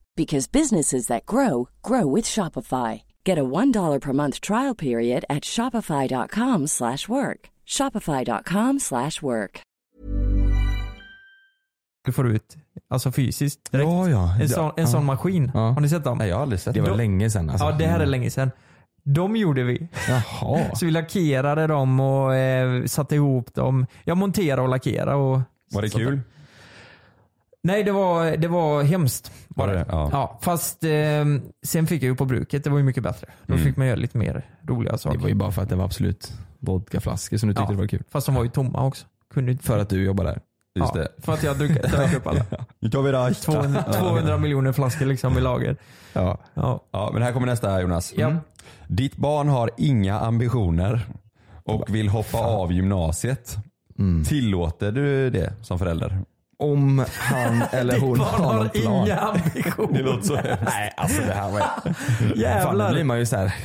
Speaker 11: because businesses that grow grow with Shopify. Get a $1 per month trial period at shopify.com/work. slash work. shopify.com/work. slash work.
Speaker 7: du får ut alltså fysiskt direkt.
Speaker 6: Ja, ja.
Speaker 7: En sån, en sån
Speaker 6: Ja.
Speaker 7: maskin.
Speaker 6: Ja.
Speaker 7: Har ni sett dem?
Speaker 6: Nej, jag har aldrig sett Det
Speaker 7: Då-
Speaker 6: var länge sedan alltså.
Speaker 7: Ja, det här är länge sedan. De gjorde vi.
Speaker 6: Jaha.
Speaker 7: Så vi lackerade dem och eh, satte ihop dem. Jag monterade och lackerade. Och
Speaker 5: Var det
Speaker 7: satte-
Speaker 5: kul?
Speaker 7: Nej, det var, det var hemskt. Var det?
Speaker 5: Ja.
Speaker 7: Ja, fast eh, sen fick jag ju på bruket. Det var ju mycket bättre. Då
Speaker 6: Mm.
Speaker 7: fick man göra lite mer roliga saker.
Speaker 6: Det var ju bara för att det var absolut vodkaflaskor som du tyckte
Speaker 7: Ja.
Speaker 6: det var kul.
Speaker 7: Fast de var ju tomma också. Kunde inte...
Speaker 6: För att du jobbar där.
Speaker 5: Just
Speaker 7: ja,
Speaker 5: det.
Speaker 7: För att jag druck- drack upp alla.
Speaker 5: Nu tar vi det.
Speaker 7: 200, 200 miljoner flaskor liksom i lager.
Speaker 5: Ja.
Speaker 7: Ja.
Speaker 5: ja, men här kommer nästa Jonas. Mm.
Speaker 7: Ja.
Speaker 5: Ditt barn har inga ambitioner och vill hoppa av gymnasiet. Mm. Tillåter du det som förälder?
Speaker 6: Om han eller hon har någon plan.
Speaker 7: ambitioner.
Speaker 5: Det låter så hemskt.
Speaker 6: Nej, alltså det här var... Fan,
Speaker 7: Jävlar.
Speaker 6: då blir man ju så här.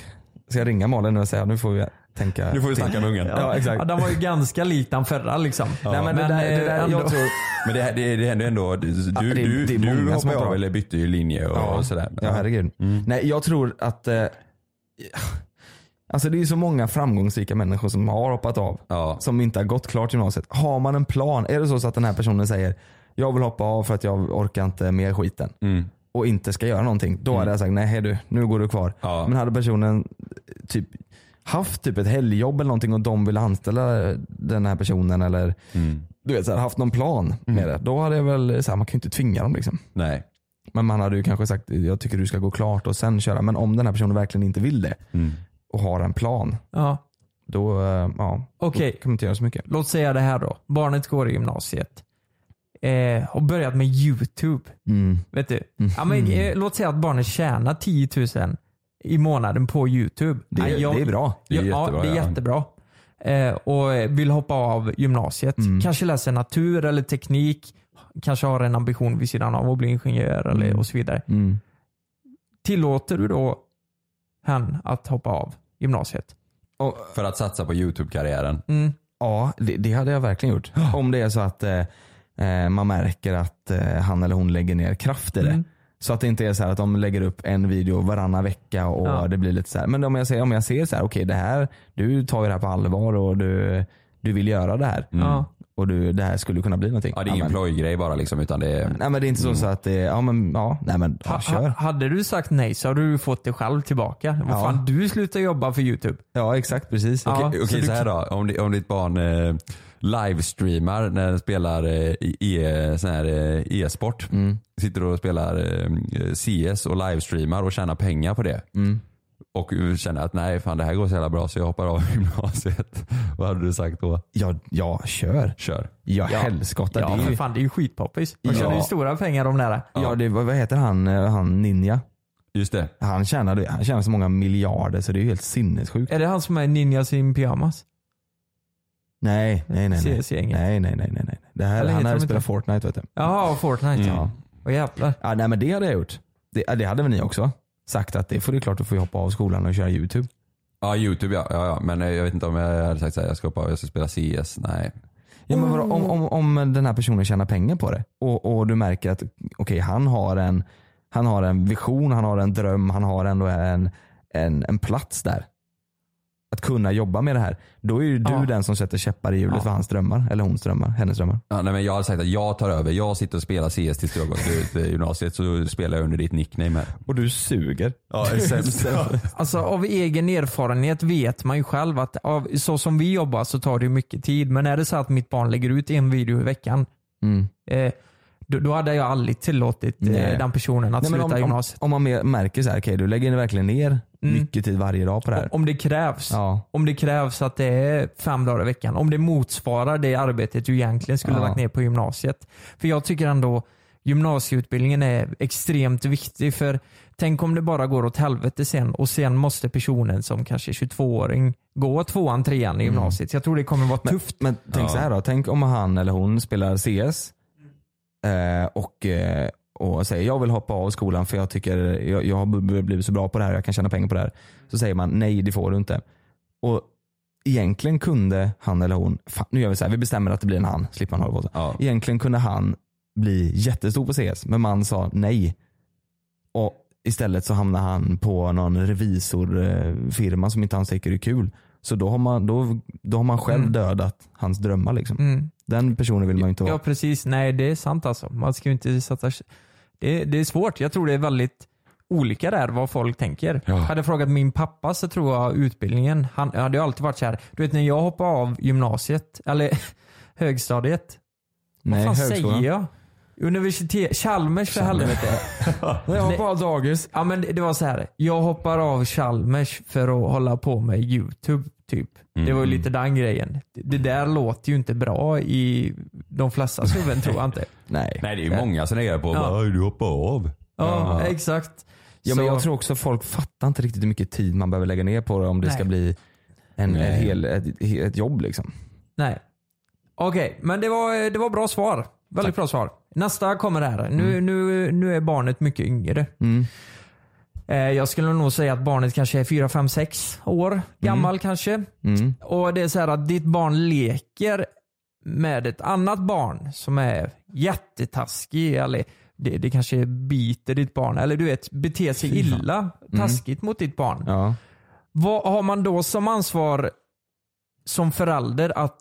Speaker 6: Ska jag ringa Malin nu och säga nu får vi tänka
Speaker 5: Nu får vi
Speaker 6: till.
Speaker 5: snacka med ungen.
Speaker 6: Ja, exakt.
Speaker 7: Ja, den var ju ganska lik den förra liksom.
Speaker 6: Nej, men, det där, det där,
Speaker 7: eh,
Speaker 6: jag
Speaker 7: ändå-
Speaker 6: tror,
Speaker 5: Men det, det, det händer ändå. Du,
Speaker 6: Ja, det är-
Speaker 5: du,
Speaker 6: det är
Speaker 5: du
Speaker 6: många som
Speaker 5: hoppar
Speaker 6: hoppar
Speaker 5: av
Speaker 6: av.
Speaker 5: eller bytte ju linje och,
Speaker 6: Ja. Mm.
Speaker 5: och sådär.
Speaker 6: ja, herregud. Nej, jag tror att eh, Alltså det är ju så många framgångsrika människor som har hoppat av.
Speaker 5: Ja.
Speaker 6: Som inte har gått klart gymnasiet. Har man en plan, är det så, så att den här personen säger jag vill hoppa av för att jag orkar inte mer skiten.
Speaker 5: Mm.
Speaker 6: och inte ska göra någonting. Då hade jag sagt nej hej du, nu går du kvar.
Speaker 5: Ja.
Speaker 6: Men hade personen typ haft typ ett helgjobb eller någonting och de ville anställa den här personen eller
Speaker 5: Mm.
Speaker 6: du vet, så här, haft någon plan med det. Då hade jag väl, så här, man kan ju inte tvinga dem liksom.
Speaker 5: Nej.
Speaker 6: Men man hade ju kanske sagt jag tycker du ska gå klart och sen köra. Men om den här personen verkligen inte vill det och har en plan.
Speaker 7: Ja.
Speaker 6: Då, eh, ja,
Speaker 7: Okej.
Speaker 6: då kan man inte göra så mycket.
Speaker 7: Låt säga det här då. Barnet går i gymnasiet. Eh, har börjat med YouTube. Vet du? Ja, men, eh, låt säga att barnet tjänar 10 000 i månaden på YouTube.
Speaker 6: Det är-
Speaker 7: Ja,
Speaker 6: det är bra.
Speaker 5: Det är
Speaker 7: ja,
Speaker 5: jättebra,
Speaker 7: det är
Speaker 5: ja.
Speaker 7: jättebra. Eh, och eh, vill hoppa av gymnasiet. Kanske läser natur eller teknik. Kanske har en ambition vid sidan av att bli ingenjör eller, och så vidare. Tillåter du då han att hoppa av gymnasiet?
Speaker 6: Och,
Speaker 5: För att satsa på
Speaker 6: Mm.
Speaker 5: YouTube-karriären.
Speaker 6: Ja, det, det hade jag verkligen gjort. Om det är så att eh, eh, man märker att eh, han eller hon lägger ner kraft i det.
Speaker 7: Mm.
Speaker 6: Så att det inte är så här att de lägger upp en video varannan vecka och
Speaker 7: Ja.
Speaker 6: det blir lite så här. Men om jag ser, om jag ser så här, okej det här, du tar ju det här på allvar och du, du vill göra det här.
Speaker 7: Mm. Ja.
Speaker 6: Och du, det här skulle kunna bli någonting.
Speaker 5: Ja, det är ingen
Speaker 6: men- Mm.
Speaker 5: plojgrej bara liksom utan det är...
Speaker 6: Nej men det är inte så, så att det, ja men ja, nej men ja,
Speaker 7: Ha,
Speaker 6: kör.
Speaker 7: ha, hade du sagt nej så hade du fått det själv tillbaka. Vad
Speaker 6: Ja.
Speaker 7: fan, du slutar jobba för YouTube.
Speaker 6: Ja exakt precis.
Speaker 7: Ja.
Speaker 5: Okej, okej, så här då. Om, di- om ditt barn eh, livestreamar när den spelar eh, e, sån här, eh, e-sport.
Speaker 6: Mm.
Speaker 5: Sitter och spelar eh, CS och livestreamar och tjänar pengar på det.
Speaker 6: Mm.
Speaker 5: Och känner att nej fan det här går så jävla bra så jag hoppar av gymnasiet. Vad hade du sagt då?
Speaker 6: Ja, ja kör.
Speaker 5: Kör.
Speaker 6: Ja, helskotta.
Speaker 7: Ja,
Speaker 6: det är
Speaker 7: för
Speaker 6: ju,
Speaker 7: fan, det är ju skitpoppis. Man
Speaker 6: Ja.
Speaker 7: tjänar ju stora pengar om det här.
Speaker 6: ja det, vad vad heter han, eh, han Ninja?
Speaker 5: Just det.
Speaker 6: Han tjänade, han tjänade så många miljarder så det är ju helt sinnessjukt.
Speaker 7: Är det han som är ninjas i pyjamas?
Speaker 6: Nej, nej, nej. Nej,
Speaker 7: CS-gänget.
Speaker 6: nej, nej. nej, nej, nej. Det här,
Speaker 7: Eller
Speaker 6: han
Speaker 7: heter
Speaker 6: hade
Speaker 7: de inte-
Speaker 6: spelat Fortnite vet du.
Speaker 7: Jaha, Fortnite.
Speaker 6: Mm.
Speaker 7: Ja. Åh jävlar.
Speaker 6: Ja, nej men det hade jag gjort. Det, ja, det hade väl ni också? Sagt att det får du klart, du får ju hoppa av skolan och köra YouTube.
Speaker 5: Ja youtube ja. ja, ja. Men eh, jag vet inte om jag hade sagt så här, jag ska hoppa av, jag ska spela CS. Nej.
Speaker 6: Ja, men vadå, om, om, om den här personen tjänar pengar på det och, och du märker att okej, han, har en, han har en vision, han har en dröm, han har ändå en, en, en plats där. Att kunna jobba med det här. Då är ju du
Speaker 7: Ja.
Speaker 6: den som sätter käppar i hjulet
Speaker 7: Ja.
Speaker 6: för hans drömmar, eller hons drömmar, hennes drömmar.
Speaker 5: Ja, nej men jag hade sagt att jag tar över. Jag sitter och spelar CS tills du har gått ut eh, gymnasiet så spelar jag under ditt nickname här.
Speaker 6: Och du suger.
Speaker 5: Ja,
Speaker 7: Alltså av egen erfarenhet vet man ju själv att av, så som vi jobbar så tar det ju mycket tid. Men är det så att mitt barn lägger ut en video i veckan,
Speaker 6: Mm.
Speaker 7: eh, då, då hade jag aldrig tillåtit eh,
Speaker 6: Nej.
Speaker 7: den personen att
Speaker 6: Nej, men
Speaker 7: sluta
Speaker 6: om, om,
Speaker 7: gymnasiet. Mm.
Speaker 6: om man mer- märker så här, okej du lägger verkligen ner mycket tid varje dag på det här.
Speaker 7: Om det krävs.
Speaker 6: Ja.
Speaker 7: Om det krävs att det är fem dagar i veckan. Om det motsvarar det arbetet du egentligen skulle
Speaker 6: Ja.
Speaker 7: lagt ner på gymnasiet. För jag tycker ändå gymnasieutbildningen är extremt viktig. För tänk om det bara går åt helvete sen och sen måste personen som kanske är 22-åring gå tvåan, trean i gymnasiet. Så jag tror det kommer vara tufft.
Speaker 6: Mm. Men Tänk så här då, tänk om han eller hon spelar CS eh, och, eh, och säger jag vill hoppa av skolan för jag tycker jag, jag har b- blivit så bra på det här jag kan tjäna pengar på det här. Så säger man nej det får du inte. Och Egentligen kunde han eller hon, fan, nu gör vi så här, vi bestämmer att det blir en han, slipper man hålla på så. Egentligen kunde han bli jättestor på CS men man sa nej. Och Istället så hamnar han på någon revisorfirma som inte han tycker är kul. Så då har man, då, då har man själv
Speaker 7: Mm.
Speaker 6: dödat hans drömmar. Liksom.
Speaker 7: Mm.
Speaker 6: Den personen vill man ju inte vara.
Speaker 7: Ja precis, nej det är sant alltså. Man ska ju inte satsa... Det, det är svårt. Jag tror det är väldigt olika där vad folk tänker. Hade jag frågat min pappa så tror jag utbildningen, han hade ju alltid varit så här. du vet när jag hoppade av gymnasiet, eller högstadiet.
Speaker 6: Nej,
Speaker 7: vad fan
Speaker 6: högskolan.
Speaker 7: säger jag? Universitet, Eh, Chalmers för helvete. jag hoppar av dagis. Ja men det- det var så här. jag hoppar av Chalmers för att hålla på med YouTube typ. Det var ju lite den grejen. Det- Det där låter ju inte bra i de flesta huvuden tror jag inte.
Speaker 6: Nej.
Speaker 5: Nej det är ju många som reagerar på
Speaker 7: Ja.
Speaker 5: bara, "Oj, du hoppar av.
Speaker 7: Ja, exakt.
Speaker 6: Ja, men jag tror också folk fattar inte riktigt hur mycket tid man behöver lägga ner på det om det
Speaker 7: Nej.
Speaker 6: ska bli en,
Speaker 5: Nej.
Speaker 6: en hel, ett, ett jobb. Liksom.
Speaker 7: Nej. Okej, men det var, det var bra svar. Väldigt bra svar. Nästa kommer här. Nu,
Speaker 6: Mm.
Speaker 7: nu, nu är barnet mycket yngre. Eh, Jag skulle nog säga att barnet kanske är 4, 5, 6 år gammal kanske.
Speaker 6: Mm.
Speaker 7: Och det är så här att ditt barn leker med ett annat barn som är jättetaskig. Eller det, det kanske biter ditt barn. Eller du vet, beter sig illa taskigt mot ditt barn.
Speaker 6: Mm. Ja.
Speaker 7: Vad har man då som ansvar som förälder att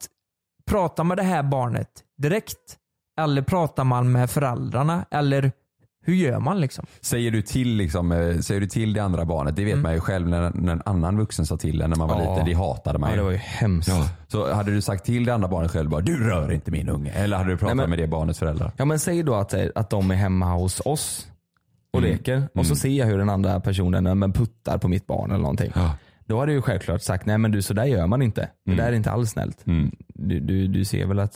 Speaker 7: prata med det här barnet direkt? Eller pratar man med föräldrarna? Eller hur gör man liksom?
Speaker 5: Säger du till, liksom, eh, säger du till det andra barnet, det vet man ju själv när, när en annan vuxen sa till en när man var
Speaker 6: Mm. Ja.
Speaker 5: liten, det hatade man
Speaker 6: Ja,
Speaker 5: ju.
Speaker 6: det var ju hemskt.
Speaker 5: Ja. Så hade du sagt till det andra barnet själv bara, du rör inte min unge. Eller hade du pratat
Speaker 6: Nej, men-
Speaker 5: med det barnets föräldrar?
Speaker 6: Ja, men säg då att, eh, att de är hemma hos oss och
Speaker 5: Mm.
Speaker 6: leker och så ser jag hur den andra personen ja, men puttar på mitt barn eller någonting. Då hade jag ju självklart sagt, nej men du sådär gör man inte. Det
Speaker 5: Mm.
Speaker 6: där är inte alls snällt. Du, du, du ser väl att,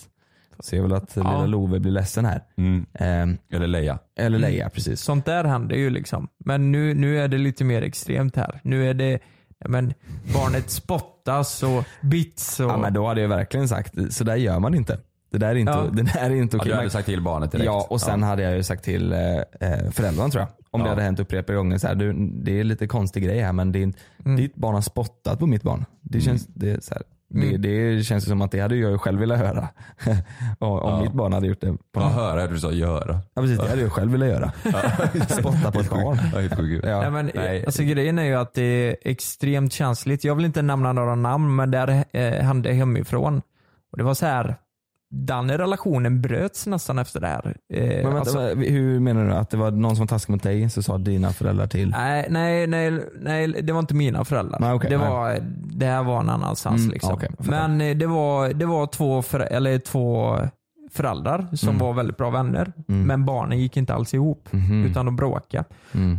Speaker 6: ser väl att lilla Love blir ledsen här. Ehm,
Speaker 5: Mm. Eller Leia. Mm.
Speaker 6: eller Leia, precis.
Speaker 7: Sånt där händer ju liksom. Men nu, nu är det lite mer extremt här. Nu är det ja, men, barnet spottas och bits och...
Speaker 6: Ja, men då hade jag verkligen sagt, så där gör man inte. Det där är inte,
Speaker 7: Ja.
Speaker 6: det där är inte
Speaker 5: Ja,
Speaker 6: okej.
Speaker 5: du hade sagt till barnet direkt.
Speaker 6: Ja, och sen hade jag ju sagt till eh, eh, föräldrarna tror jag. Om det hade hänt upprepade gånger. Så här, du, det är lite konstig grej här men det är inte,
Speaker 5: Mm.
Speaker 6: ditt barn har spottat på mitt barn. Det känns, det, är så här, det,
Speaker 5: Mm.
Speaker 6: det känns ju som att det hade jag ju själv velat höra. Och, om mitt barn hade gjort det. På
Speaker 5: Ja,
Speaker 6: något.
Speaker 5: höra hur du sa göra.
Speaker 6: Ja, precis, det hade jag själv velat göra. Spotta på ett barn.
Speaker 5: Ja, det är sjukt.
Speaker 6: Ja.
Speaker 7: Nej, men,
Speaker 5: Nej.
Speaker 7: Alltså, grejen är ju att det är extremt känsligt. Jag vill inte nämna några namn, men där eh, hände hemifrån. Och det var så här, den relationen bröts nästan efter det här. Eh,
Speaker 6: Men vänta,
Speaker 7: alltså-
Speaker 6: vad- hur menar du? Att det var någon som var taskig mot dig så sa dina föräldrar till?
Speaker 7: Nej, nej, nej, nej, det var inte mina föräldrar.
Speaker 6: Nej, okej,
Speaker 7: det,
Speaker 6: nej.
Speaker 7: var, det här var en annanstans.
Speaker 6: Mm,
Speaker 7: liksom.
Speaker 6: okej, jag fattar.
Speaker 7: Men eh, det var, det var två, förä- eller två föräldrar
Speaker 6: Mm.
Speaker 7: som var väldigt bra vänner. Men barnen gick inte alls ihop.
Speaker 1: Mm-hmm.
Speaker 6: Mm.
Speaker 7: Utan de bråkade.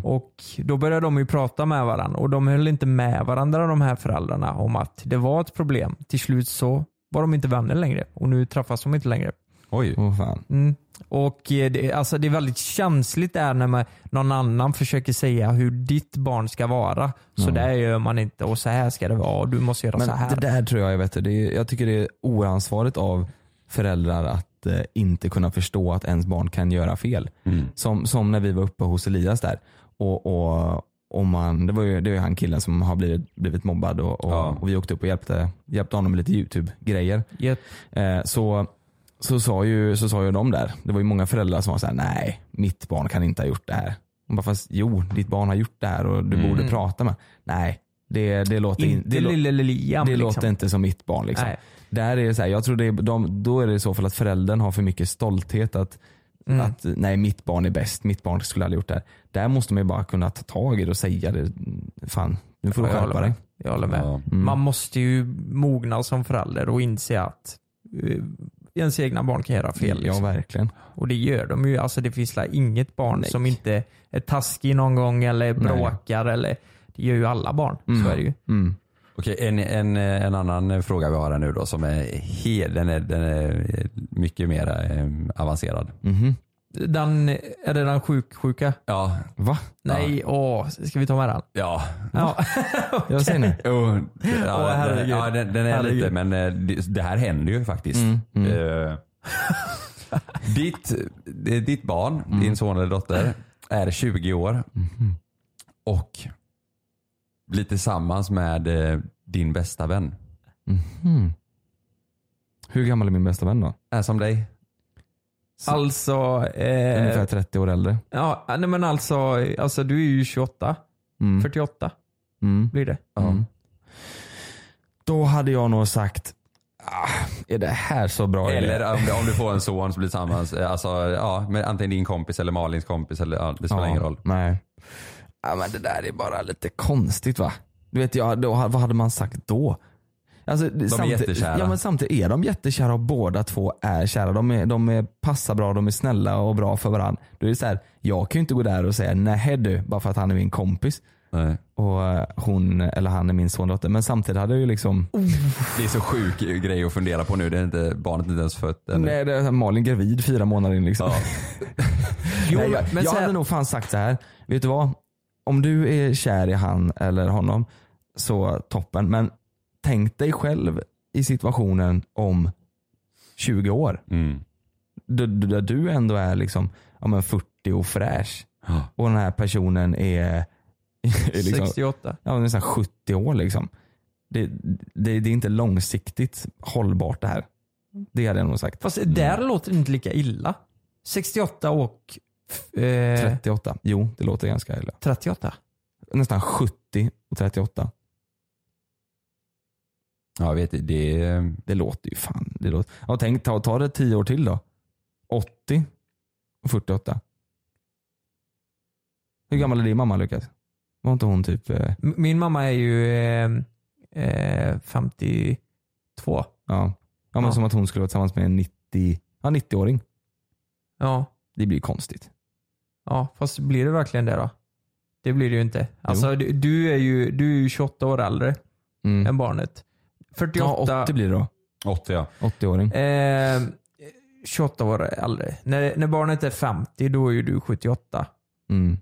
Speaker 7: Och då började de ju prata med varandra. Och de höll inte med varandra de här föräldrarna om att det var ett problem. Till slut så var de inte vänner längre. Och nu träffas de inte längre.
Speaker 5: Oj.
Speaker 6: Åh fan.
Speaker 7: Mm. Och eh, det, alltså det är väldigt känsligt där när man, någon annan försöker säga hur ditt barn ska vara. Så där gör man inte och så här ska det vara och du måste göra
Speaker 6: Men
Speaker 7: så här.
Speaker 6: det där tror jag, jag, vet, du, det är, jag tycker det är oansvarigt av föräldrar att eh, inte kunna förstå att ens barn kan göra fel. Som, som när vi var uppe hos Elias där. Och, och, och man, det var ju det var ju han killen som har blivit, blivit mobbad och, och,
Speaker 5: Ja.
Speaker 6: och vi åkte upp och hjälpte, hjälpte honom med lite YouTube-grejer.
Speaker 7: Yep.
Speaker 6: Eh, så, så, sa ju, så sa ju de där, det var ju många föräldrar som var såhär, nej mitt barn kan inte ha gjort det här. Och bara, fast jo, ditt barn har gjort det här och du borde prata med Nej, det, det låter in-
Speaker 7: Inte
Speaker 6: det lå-
Speaker 7: lille Liam.
Speaker 6: det
Speaker 7: liksom.
Speaker 6: låter inte som mitt barn. Liksom.
Speaker 7: Nej.
Speaker 6: Där är det så här, jag tror det är, de, då är det i så fall att föräldern har för mycket stolthet att,
Speaker 7: Mm.
Speaker 6: att nej mitt barn är bäst, mitt barn skulle aldrig gjort det här. Där måste man ju bara kunna ta tag i det och säga det. Fan, nu får du
Speaker 7: Ja, jag
Speaker 6: skärpa
Speaker 7: håller
Speaker 6: dig.
Speaker 7: med. Jag håller med.
Speaker 5: Ja.
Speaker 6: Mm.
Speaker 7: Man måste ju mogna som förälder och inse att eh, ens egna barn kan göra fel.
Speaker 6: Ja
Speaker 7: Liksom.
Speaker 6: verkligen.
Speaker 7: Och det gör de ju. Alltså det finns väl inget barn
Speaker 6: Nej.
Speaker 7: som inte är taskig någon gång eller bråkar. Eller, det gör ju alla barn. Så är det ju.
Speaker 5: Mm. Okej, en, en, en annan fråga vi har här nu då som är, helt, den är, den är mycket mer eh, avancerad.
Speaker 7: Den, är det den sjuksjuka?
Speaker 5: Ja.
Speaker 6: Va?
Speaker 7: Nej, åh, ska vi ta med den?
Speaker 5: Ja.
Speaker 7: ja.
Speaker 6: Jag säger nej.
Speaker 5: Jo, ja,
Speaker 7: Åh,
Speaker 5: den,
Speaker 7: herregud.
Speaker 5: ja, den, den är
Speaker 7: Herregud.
Speaker 5: lite, men eh, det, det här händer ju faktiskt.
Speaker 6: Mm,
Speaker 5: Eh, ditt, ditt barn, din son eller dotter, är 20 år och blir tillsammans med eh, din bästa vän.
Speaker 6: Mhm. Hur gammal är min bästa vän då?
Speaker 5: Är som dig.
Speaker 7: Alltså... Eh,
Speaker 6: Ungefär 30 år äldre.
Speaker 7: Ja, nej men alltså, alltså du är ju 28.
Speaker 6: Mm.
Speaker 7: 48
Speaker 6: Mm.
Speaker 7: blir det.
Speaker 6: Mm. Då hade jag nog sagt, ah, är det här så bra idé?
Speaker 5: Eller om, om du får en son som blir tillsammans, eh, alltså, ja, med antingen din kompis eller Malins kompis. Eller, ja, det spelar
Speaker 6: Ja,
Speaker 5: ingen roll.
Speaker 6: Nej. Ja, men det där är bara lite konstigt va? Du vet, jag, då, vad hade man sagt då? Alltså, de
Speaker 5: jättekära.
Speaker 6: Ja, men samtidigt är de jättekära och båda två är kära. De, är, de är, passar bra, de är snälla och bra för varandra. Då är det så här, jag kan ju inte gå där och säga nej du, bara för att han är min kompis.
Speaker 5: Nej.
Speaker 6: Och eh, hon eller han är min sondotter. Men samtidigt hade jag ju liksom,
Speaker 7: Oh.
Speaker 5: Det är så sjuk grej att fundera på nu. Det är inte, barnet är inte ens fött ännu.
Speaker 6: nej, eh, det är så här, Malin gravid fyra månader in liksom.
Speaker 7: Jo,
Speaker 6: Nej, jag
Speaker 7: men
Speaker 6: jag
Speaker 7: så här-
Speaker 6: hade nog fan sagt så här. Vet du vad? Om du är kär i han eller honom så toppen. Men tänk dig själv i situationen om 20 år.
Speaker 5: Mm.
Speaker 6: Där du, där du ändå är liksom, ja, men 40 och fräsch.
Speaker 5: Ja.
Speaker 6: Och den här personen är, är liksom,
Speaker 7: 68.
Speaker 6: ja, nästan 70 år. Liksom. Det, det, det är inte långsiktigt hållbart det här. Det hade jag nog sagt.
Speaker 7: Fast där låter det inte lika illa. 68 och eh,
Speaker 6: 38. Jo, det låter ganska illa.
Speaker 7: 38.
Speaker 6: Nästan 70 och 38.
Speaker 5: Ja, jag vet, det är eh,
Speaker 6: Det låter ju fan. Det låter. Ja, tänk, ta, ta det tio år till då. 80 och 48. Hur gammal är din mamma Lukas? Var inte hon typ... eh,
Speaker 7: M- Min mamma är ju eh, eh, 52.
Speaker 6: Ja, ja men
Speaker 7: Ja.
Speaker 6: som att hon skulle vara tillsammans med en 90, ja, 90-åring.
Speaker 7: Ja,
Speaker 6: Det blir ju konstigt.
Speaker 7: ja, fast blir det verkligen det då? Det blir det ju inte. Alltså, du, du, är ju, du är ju 28 år äldre
Speaker 6: Mm.
Speaker 7: än barnet. 48,
Speaker 6: Ja, 80 blir det då.
Speaker 5: 80 ja.
Speaker 6: 80-åring.
Speaker 7: eh, 28 år äldre. När, när barnet är 50 då är ju du 78.
Speaker 6: Mm.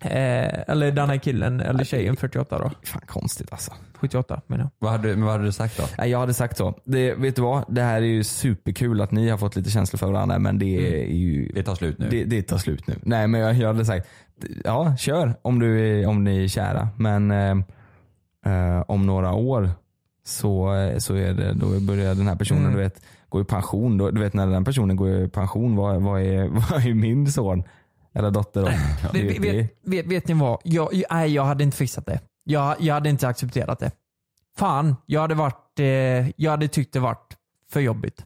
Speaker 7: Eh, eller den här killen eller tjejen 48 då.
Speaker 6: Fan konstigt alltså.
Speaker 7: 78 menar jag.
Speaker 5: Vad hade, men vad hade du sagt då?
Speaker 6: Nej, jag hade sagt så. Det, vet du vad? Det här är ju superkul att ni har fått lite känslor för varandra men det är ju
Speaker 5: Mm. Det tar slut nu.
Speaker 6: Det, det tar slut nu. Nej men jag, jag hade sagt, ja kör om, du är, om ni är kära. Men eh, eh, om några år så, eh, så är det, då börjar den här personen
Speaker 7: Mm.
Speaker 6: du vet, gå i pension. Då, du vet när den personen går i pension, vad, vad, är, vad är min son? Eller dotter då? Det,
Speaker 7: Vet,
Speaker 6: det,
Speaker 7: vet, vet, vet ni vad? Jag, jag, nej, jag hade inte fixat det. Jag, jag hade inte accepterat det. Fan, jag hade, varit, eh, jag hade tyckt det varit för jobbigt.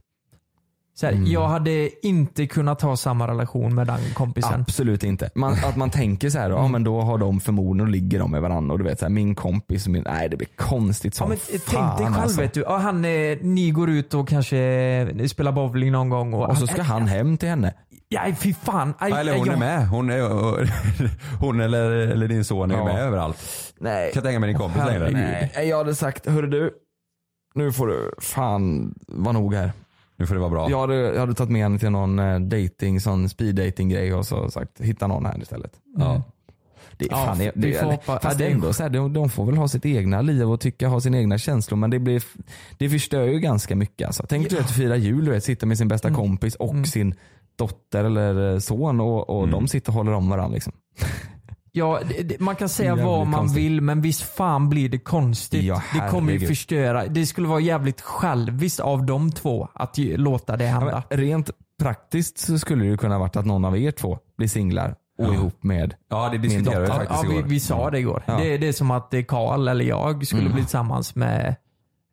Speaker 7: Så här, Jag hade inte kunnat ha samma relation med den kompisen.
Speaker 6: absolut inte. Man, att man tänker så här,
Speaker 7: Mm.
Speaker 6: ja men då har de förmodligen och ligger de med varandra. Och du vet, så här, min kompis och min, nej det blir konstigt som
Speaker 7: Ja, men,
Speaker 6: fan.
Speaker 7: tänk dig själv,
Speaker 6: alltså.
Speaker 7: vet du. Ja, han, eh, ni går ut och kanske eh, spelar bowling någon gång. Och,
Speaker 6: Och så ska han hem till henne.
Speaker 7: Nej, fy fan. Aj,
Speaker 5: Eller hon
Speaker 7: jag,
Speaker 5: är med. Hon, är, hon eller, eller din son är
Speaker 6: Ja.
Speaker 5: med överallt.
Speaker 6: Nej.
Speaker 5: Kan inte hänga med din kompis längre.
Speaker 6: Nej. Jag hade sagt, hörru du. Nu får du fan vara nog här.
Speaker 5: Nu får det vara bra.
Speaker 6: Jag, hade, jag hade tagit med henne till någon eh, dating, sån speed dating grej och så sagt, hitta någon här istället. Mm.
Speaker 5: Ja.
Speaker 6: Det är
Speaker 7: Ja,
Speaker 6: fan, det,
Speaker 7: vi
Speaker 6: det,
Speaker 7: får hoppa-
Speaker 6: fast
Speaker 7: det
Speaker 6: det
Speaker 7: är-
Speaker 6: är ändå så här, de, de får väl ha sitt egna liv och tycka, ha sina egna känslor. Men det, blir, det förstör ju ganska mycket. Alltså. Tänk du att fira jul, du vet, sitta med sin bästa kompis och sin dotter eller eh, son och, och de sitter och håller om varandra. Liksom.
Speaker 7: Ja, det, det, man kan säga
Speaker 6: Jävligt
Speaker 7: vad man
Speaker 6: konstigt.
Speaker 7: vill men visst fan blir det konstigt.
Speaker 6: Ja,
Speaker 7: det kommer ju
Speaker 6: herregud.
Speaker 7: förstöra. Det skulle vara jävligt själviskt av de två att ju, låta det hända.
Speaker 6: Ja, men rent praktiskt så skulle det ju kunna varit att någon av er två blir singlar och ihop med
Speaker 5: Ja, det
Speaker 6: min
Speaker 5: diskuterade vi
Speaker 6: dotter.
Speaker 5: faktiskt
Speaker 7: Ja, vi,
Speaker 5: igår. Mm.
Speaker 7: vi sa det igår.
Speaker 6: Ja.
Speaker 7: Det, det är som att eh, Karl eller jag skulle bli tillsammans med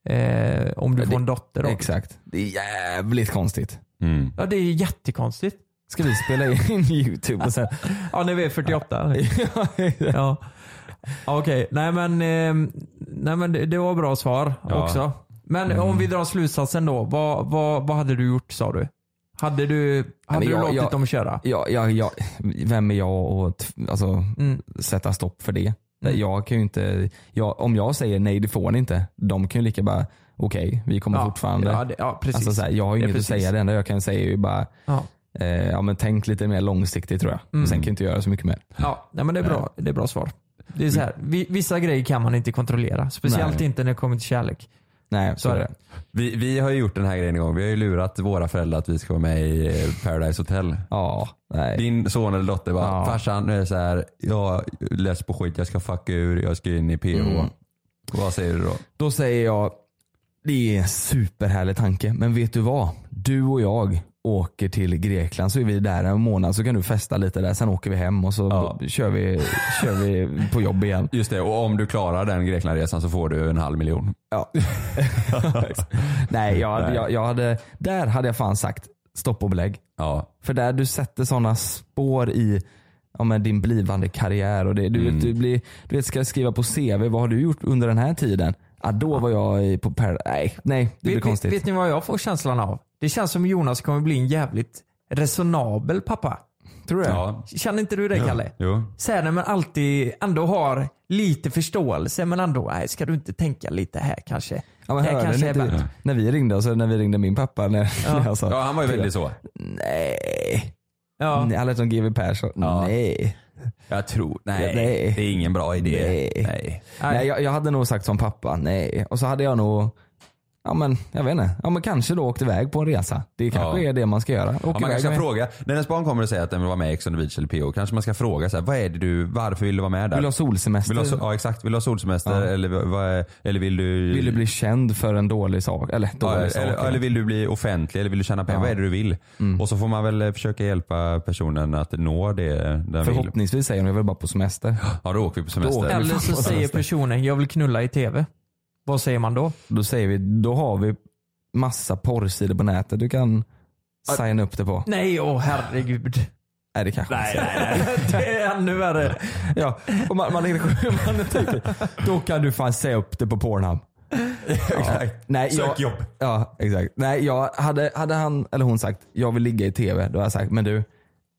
Speaker 7: eh, om du får en dotter. Då.
Speaker 6: Exakt. Det är jävligt konstigt.
Speaker 5: Mm.
Speaker 7: Ja, det är jättekonstigt.
Speaker 6: Ska vi spela in youtube och sen...
Speaker 7: Ja, när vi är 48. ja. Ja, Okej, nej men, eh, nej, men det, det var bra svar
Speaker 5: Ja.
Speaker 7: också. Men
Speaker 6: Mm.
Speaker 7: om vi drar slutsatsen då. Vad, vad, vad hade du gjort sa du? Hade du, hade
Speaker 6: men
Speaker 7: du
Speaker 6: jag-
Speaker 7: låtit
Speaker 6: jag-
Speaker 7: dem köra?
Speaker 6: ja, ja, ja. Vem är jag att alltså,
Speaker 7: Mm.
Speaker 6: sätta stopp för det? Jag kan ju inte, jag, om jag säger nej det får ni inte, de kan ju lika bara okej, vi kommer
Speaker 7: Ja,
Speaker 6: fortfarande.
Speaker 7: ja, det- ja, precis.
Speaker 6: Alltså, så här, jag har
Speaker 7: Det
Speaker 6: ju
Speaker 7: är
Speaker 6: inget att
Speaker 7: precis.
Speaker 6: säga, det enda jag kan säga är ju bara
Speaker 7: Ja.
Speaker 6: eh, ja, men tänk lite mer långsiktigt tror jag.
Speaker 7: Mm.
Speaker 6: Sen kan jag inte göra så mycket mer.
Speaker 7: Ja, nej, men det är bra, det är bra svar. Det är
Speaker 6: Mm.
Speaker 7: så här, vi- vissa grejer kan man inte kontrollera. Speciellt
Speaker 5: Nej.
Speaker 7: inte när det kommer till kärlek.
Speaker 6: Nej,
Speaker 7: så är det.
Speaker 5: Vi, vi har ju gjort den här grejen en gång. Vi har ju lurat våra föräldrar att vi ska vara med i eh, Paradise Hotel.
Speaker 6: Ja,
Speaker 5: Din son eller dotter bara, farsan nu är det så här, jag läser på skit, jag ska fucka ur, jag ska in i PH.
Speaker 6: Mm.
Speaker 5: Vad säger du då?
Speaker 6: Då säger jag, det är en superhärlig tanke, men vet du vad? Du och jag åker till Grekland så är vi där en månad så kan du festa lite där, sen åker vi hem och så b- kör, vi, kör vi på jobb igen.
Speaker 5: Just det, och om du klarar den Greklandresan så får du en halv miljon.
Speaker 6: Ja. Nej, jag,
Speaker 5: Nej.
Speaker 6: Jag, jag hade, där hade jag fan sagt stopp och belägg.
Speaker 5: Ja.
Speaker 6: För där du sätter sådana spår i ja, men din blivande karriär. Och det, du,
Speaker 5: Mm.
Speaker 6: vet, du, blir, du vet, ska skriva på CV, vad har du gjort under den här tiden? Ja, då var jag i- på Paradise. Nej, nej, det blir
Speaker 7: Vet, vet,
Speaker 6: konstigt.
Speaker 7: vet ni vad jag får känslan av? Det känns som Jonas kommer bli en jävligt resonabel pappa.
Speaker 6: Tror du det?
Speaker 5: Ja.
Speaker 7: Känner inte du det Kalle?
Speaker 5: Jo.
Speaker 7: Så här när man alltid ändå har lite förståelse men ändå, nej ska du inte tänka lite här kanske?
Speaker 6: Ja, men
Speaker 7: det här
Speaker 6: hörde
Speaker 7: kanske
Speaker 6: ni
Speaker 7: är
Speaker 6: inte
Speaker 7: bättre.
Speaker 6: när vi ringde, alltså, när vi ringde min pappa? När, när jag sa,
Speaker 5: Ja, han var ju väldigt så.
Speaker 6: Nej.
Speaker 7: Ja.
Speaker 6: Nej, Han lät som GW Persson. Nej.
Speaker 5: Jag tror,
Speaker 6: Ja,
Speaker 5: nej,
Speaker 6: nej.
Speaker 5: det är ingen bra idé.
Speaker 6: Nej.
Speaker 5: Nej.
Speaker 6: Nej, jag, jag hade nog sagt som pappa, nej. Och så hade jag nog, ja men jag vet inte, ja, men kanske då åkt iväg på en resa. Det kanske
Speaker 5: Ja.
Speaker 6: är det man ska göra. Åka
Speaker 5: Ja, man kanske
Speaker 6: iväg
Speaker 5: ska
Speaker 6: med-
Speaker 5: fråga, när ens barn kommer och säger att den vill vara med i Ex on the Beach eller PO, kanske man ska fråga så här, vad är det du, varför vill du vara med där?
Speaker 6: Vill du ha solsemester?
Speaker 5: Vill du ha, so- ja exakt, vill du ha solsemester
Speaker 6: Ja.
Speaker 5: eller, vad är, eller vill du...
Speaker 6: Vill du bli känd för en dålig sak? Eller
Speaker 5: Ja,
Speaker 6: dålig sak.
Speaker 5: eller, eller vill du bli offentlig eller vill du tjäna pengar?
Speaker 6: Ja. Mm.
Speaker 5: Vad är det du vill? Och så får man väl eh, försöka hjälpa personen att nå det den vill.
Speaker 6: Förhoppningsvis säger hon jag vill bara på semester.
Speaker 5: Ja då åker vi på
Speaker 6: Då
Speaker 5: semester.
Speaker 6: åker vi.
Speaker 7: Eller så
Speaker 6: Fan, vad
Speaker 7: säger
Speaker 6: hemskt.
Speaker 7: personen, jag vill knulla i TV. Vad säger man då?
Speaker 6: Då säger vi, då har vi massa porrsidor på nätet du kan signa upp det på.
Speaker 7: Nej, åh herregud.
Speaker 6: Nej det kanske nej,
Speaker 7: det är ännu värre.
Speaker 6: Ja, och man, man, man tänker, då kan du fan säga upp det på Pornhub.
Speaker 5: Exakt.
Speaker 6: Nej,
Speaker 5: Sök
Speaker 6: jag-
Speaker 5: jobb.
Speaker 6: Ja, exakt. Nej, jag hade, hade han eller hon sagt jag vill ligga i tv, då hade jag sagt men du,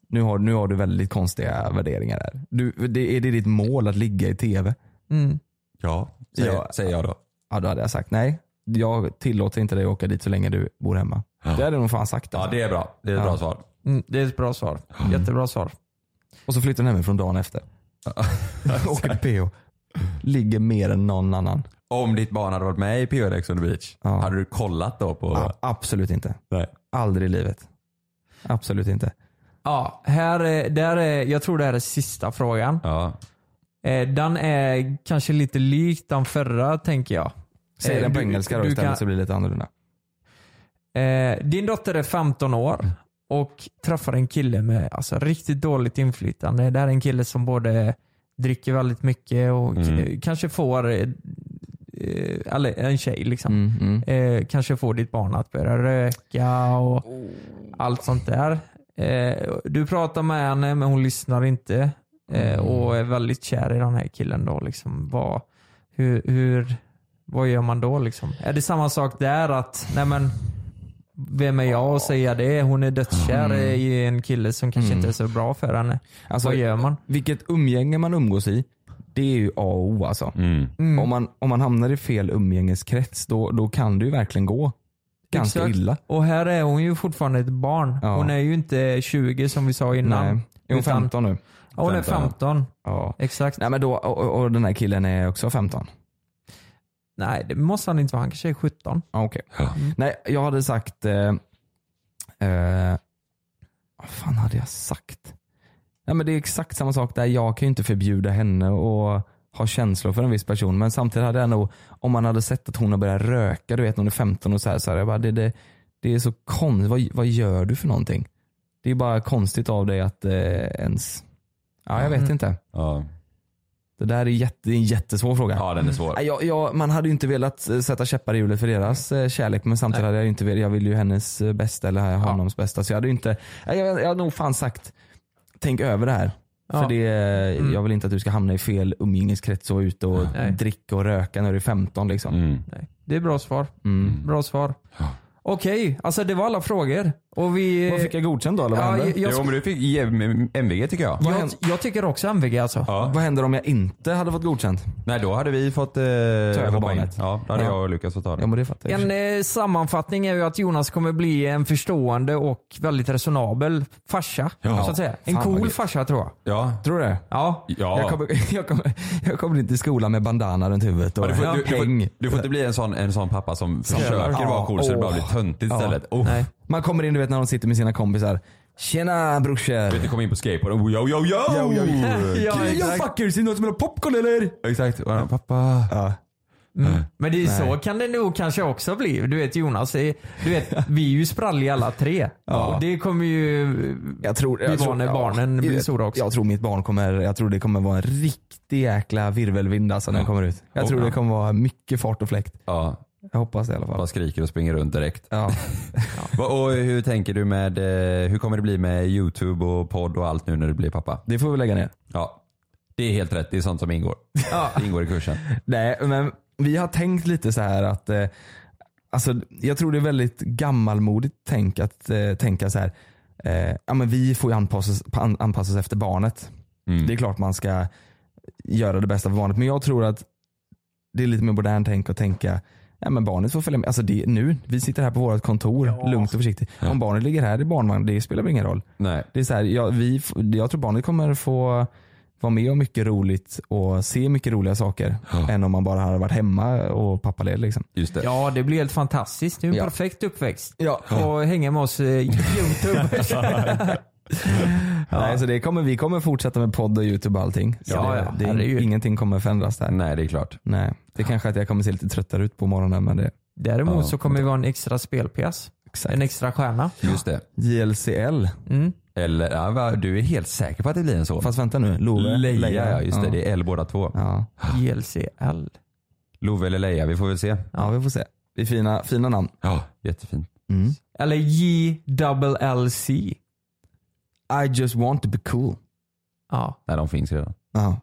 Speaker 6: nu har, nu har du väldigt konstiga värderingar där. Du, det, är det ditt mål att ligga i tv?
Speaker 7: Mm.
Speaker 5: Ja, säger,
Speaker 6: Ja.
Speaker 5: säger jag då.
Speaker 6: Ja, då hade jag sagt nej. Jag tillåter inte dig att åka dit så länge du bor hemma. Det hade jag nog fan sagt.
Speaker 5: Ja
Speaker 6: Alltså.
Speaker 5: det är bra. Det är ett
Speaker 6: Ja.
Speaker 5: bra svar.
Speaker 7: Mm, det är ett bra svar. Jättebra svar.
Speaker 6: Och så flyttar han hemifrån dagen efter. Åker till PH. Ligger mer än någon annan.
Speaker 5: Om ditt barn hade varit med i PO eller Ex on the Beach,
Speaker 6: Ja.
Speaker 5: hade du kollat då på...
Speaker 6: Ja, absolut inte.
Speaker 5: Nej.
Speaker 6: Aldrig i livet. Absolut inte.
Speaker 7: Ja, här, är- där är, jag tror det här är sista frågan.
Speaker 5: Ja.
Speaker 7: Eh, Den är kanske lite lik den förra tänker jag.
Speaker 6: Säg
Speaker 7: Eh,
Speaker 6: den på
Speaker 7: du-
Speaker 6: engelska då
Speaker 7: du
Speaker 6: istället
Speaker 7: kan-
Speaker 6: så blir det lite annorlunda.
Speaker 7: Eh, din dotter är 15 år och träffar en kille med alltså, riktigt dåligt inflytande. Det här är en kille som både dricker väldigt mycket och
Speaker 5: Mm.
Speaker 7: eh, kanske får, eh, eh, eller en tjej liksom,
Speaker 6: Mm-hmm.
Speaker 7: eh, kanske får ditt barn att börja röka och
Speaker 6: Oh.
Speaker 7: allt sånt där. Eh, du pratar med henne men hon lyssnar inte eh,
Speaker 6: Mm.
Speaker 7: och är väldigt kär i den här killen. Då, liksom. vad, hur, hur, vad gör man då? Liksom? Är det samma sak där att, nej men vem är jag att säga det? Hon är dödskär i en kille som kanske inte är så bra för henne.
Speaker 6: Mm. Alltså,
Speaker 7: Vad gör man?
Speaker 6: Vilket umgänge man umgås i, det är ju A och O alltså.
Speaker 5: Mm.
Speaker 6: Om, man, om man hamnar i fel umgängeskrets, då, då kan det ju verkligen gå ganska
Speaker 7: Exakt.
Speaker 6: illa.
Speaker 7: Och här är hon ju fortfarande ett barn.
Speaker 6: Ja.
Speaker 7: Hon är ju inte 20 som vi sa innan.
Speaker 6: Nej. Är hon
Speaker 7: Utan-
Speaker 6: 15 nu?
Speaker 7: Ja, hon är
Speaker 5: 15.
Speaker 7: 15.
Speaker 6: Ja.
Speaker 7: Exakt.
Speaker 6: Nej, men då, och, och den här killen är också 15?
Speaker 7: Nej, det måste han inte vara. Han kanske är 17.
Speaker 6: Ja, Ah, okej. Nej, jag hade sagt... Eh, eh, vad fan hade jag sagt? Nej, men det är exakt samma sak där. Jag kan ju inte förbjuda henne att ha känslor för en viss person. Men samtidigt hade jag nog, om man hade sett att hon har börjat röka, du vet när hon är 15 och så här, så här jag bara, det, det, det är så konstigt. Vad, vad gör du för någonting? Det är bara konstigt av dig att eh, ens... Ja, jag vet
Speaker 7: Mm.
Speaker 6: inte.
Speaker 5: Ja.
Speaker 6: Det där är, jätte, det är en jättesvår fråga.
Speaker 5: ja, den är svår.
Speaker 6: Nej, Jag, jag, man hade ju inte velat eh, sätta käppar i hjulet för deras eh, kärlek men samtidigt hade jag ju inte velat, jag ville ju hennes eh, bästa eller honoms bästa. Så jag hade ju inte, nej, jag, jag hade nog fan sagt, tänk över det här.
Speaker 7: Ja.
Speaker 6: För det, eh, jag vill inte att du ska hamna i fel umgängeskrets och ut och
Speaker 7: Nej.
Speaker 6: dricka och röka när du är 15 liksom.
Speaker 5: Mm.
Speaker 7: Nej. Det är bra svar.
Speaker 6: Mm.
Speaker 7: Bra svar. Okej, alltså det var alla frågor. Och vi...
Speaker 6: Vad fick jag godkänt då eller vad
Speaker 7: Ja,
Speaker 6: hände?
Speaker 7: jag- jag Jo, ska- men
Speaker 5: du fick ge MVG tycker jag.
Speaker 7: Jag, jag tycker också MVG alltså.
Speaker 6: Vad händer om jag inte hade fått godkänt?
Speaker 5: Nej då hade vi fått eh,
Speaker 6: över
Speaker 5: hoppa in.
Speaker 6: barnet.
Speaker 5: Ja, då hade
Speaker 6: Ja.
Speaker 5: jag och Lukas fått ta det.
Speaker 6: Ja men det fattar jag.
Speaker 7: En eh, sammanfattning är ju att Jonas kommer bli en förstående och väldigt resonabel farsa.
Speaker 6: Ja.
Speaker 7: Så att säga. En
Speaker 6: Fan, vad
Speaker 7: cool
Speaker 6: gött.
Speaker 7: farsa tror jag.
Speaker 5: Ja.
Speaker 6: Tror du det?
Speaker 7: Ja.
Speaker 5: Ja.
Speaker 6: Jag, kommer, jag, kommer, jag kommer inte till skolan med bandana runt huvudet och
Speaker 5: Ja, du, får, du, du,
Speaker 6: häng.
Speaker 5: får, du får inte bli en sån, en sån pappa som försöker
Speaker 6: Ja,
Speaker 5: vara cool så det
Speaker 6: åh.
Speaker 5: bara blir töntigt
Speaker 6: Ja.
Speaker 5: istället. Oh.
Speaker 6: Nej. Man kommer in du vet när de sitter med sina kompisar. Tjena brorsor.
Speaker 5: Du vet, du kommer in på skateboard och yo yo yo!
Speaker 6: Yo, yo, yo.
Speaker 5: Ja,
Speaker 6: Can you fuckers, är det någon som vill ha popcorn eller?
Speaker 5: Exakt. Och han, Pappa.
Speaker 7: Men det är ju så kan det nog kanske också bli. Du vet Jonas, är, du vet, vi är ju spralliga alla tre.
Speaker 6: Ja.
Speaker 7: Och det kommer ju
Speaker 6: Jag tror,
Speaker 7: bli
Speaker 6: jag
Speaker 7: bra
Speaker 6: tror,
Speaker 7: när
Speaker 6: ja,
Speaker 7: barnen blir
Speaker 6: jag-
Speaker 7: stora också.
Speaker 6: Jag tror mitt barn kommer, jag tror det kommer vara en riktig jäkla virvelvind alltså när
Speaker 5: Ja.
Speaker 6: den kommer ut. Jag
Speaker 5: Oh,
Speaker 6: tror
Speaker 5: ja.
Speaker 6: det kommer vara mycket fart och fläkt.
Speaker 5: Ja,
Speaker 6: Jag hoppas det i alla fall.
Speaker 5: bara skriker och springer runt direkt.
Speaker 6: Ja.
Speaker 5: Va- Och hur tänker du med, eh, hur kommer det bli med YouTube och podd och allt nu när du blir pappa?
Speaker 6: Det får vi lägga ner.
Speaker 5: Ja, det är helt rätt. Det är sånt som ingår. Det ingår i kursen.
Speaker 6: Nej, men vi har tänkt lite så här att eh, alltså, jag tror det är väldigt gammalmodigt tänk att eh, tänka så här. Eh, ja, men vi får ju anpassas, an, anpassas efter barnet.
Speaker 5: Mm.
Speaker 6: Det är klart man ska göra det bästa för barnet. Men jag tror att det är lite mer modernt tänk att tänka Ja, men barnet får följa med. Alltså det, nu, vi sitter här på vårt kontor, lugnt och försiktigt. Om barnet ligger här i barnvagn, det spelar väl ingen roll.
Speaker 5: Nej.
Speaker 6: Det är så här, jag, vi, f- jag tror barnet kommer få vara med om mycket roligt och se mycket roliga saker. Än om man bara hade varit hemma och pappaledig. Liksom.
Speaker 5: Just det.
Speaker 7: Ja, det blir helt fantastiskt. Det är en
Speaker 6: Ja.
Speaker 7: perfekt uppväxt.
Speaker 6: Ja.
Speaker 7: Och hänga med oss eh, youtubers.
Speaker 6: Nej, så det kommer, vi kommer fortsätta med podd och youtube och allting. Så
Speaker 7: Ja,
Speaker 6: det,
Speaker 7: ja,
Speaker 6: det,
Speaker 7: herregud.
Speaker 6: ingenting kommer förändras där.
Speaker 5: Nej, det är klart.
Speaker 6: Nej. Det är kanske att jag kommer se lite tröttare ut på morgonen men det
Speaker 7: Däremot
Speaker 5: Ja.
Speaker 7: så kommer vi ha en extra spelpjäs.
Speaker 6: Exakt.
Speaker 7: En extra stjärna.
Speaker 5: Just det.
Speaker 6: JLCL.
Speaker 5: Eller, ja, va, du är helt säker på att det blir en så?
Speaker 6: Fast vänta nu, Love.
Speaker 5: Leia, ja. Just det, det är L båda två.
Speaker 6: Ja.
Speaker 7: JLCL.
Speaker 5: Love eller Leia, vi får väl se.
Speaker 6: ja, vi får se. Det är fina, fina namn.
Speaker 5: Ja, jättefint.
Speaker 7: Eller JLLC.
Speaker 6: I just want to be cool.
Speaker 7: Ja.
Speaker 5: Nej, de finns redan.
Speaker 6: Ja.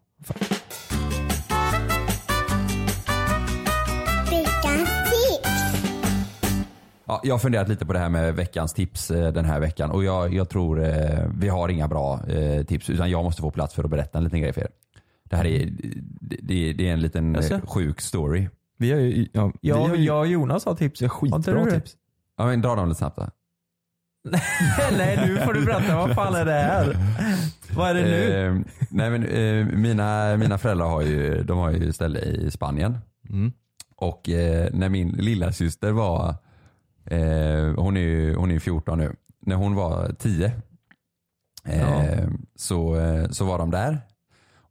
Speaker 5: Ja, jag har funderat lite på det här med veckans tips eh, den här veckan och jag, jag tror eh, vi har inga bra eh, tips utan jag måste få plats för att berätta en liten grej för er. Det här är, det, det- det är en liten
Speaker 7: Jaså?
Speaker 5: eh, sjuk story.
Speaker 6: Vi har ju, ja, vi
Speaker 7: Jag,
Speaker 6: har ju
Speaker 7: jag och Jonas har tips.
Speaker 6: vi har
Speaker 7: Har inte
Speaker 6: skitbra
Speaker 7: du det?
Speaker 6: tips.
Speaker 5: Ja, men dra dem lite snabbt då.
Speaker 7: Nej nu får du berätta, vad fan är det här? Vad är det nu?
Speaker 5: Eh, nej men eh, mina, mina föräldrar har ju, de har ju ställe i Spanien.
Speaker 7: Mm.
Speaker 5: Och eh, när min lilla syster var, eh, hon är ju hon är ju 14 nu, när hon var 10 eh, så, eh, så var de där.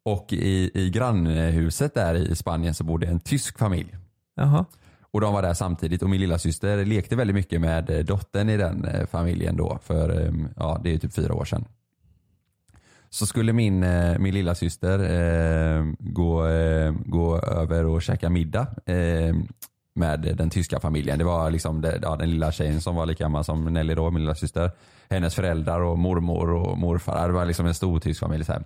Speaker 5: Och i, i grannhuset där i Spanien så bodde en tysk familj.
Speaker 7: Jaha.
Speaker 5: Och de var där samtidigt och min lilla syster lekte väldigt mycket med eh, dottern i den eh, familjen då för eh, ja, det är ju typ fyra år sedan. Så skulle min, eh, min lilla syster eh, gå, eh, gå över och käka middag eh, med den tyska familjen. Det var liksom det, ja, den lilla tjejen som var lika gammal som Nelly då, min lilla syster. Hennes föräldrar och mormor och morfar. Det var liksom en stor tysk familj. Så här.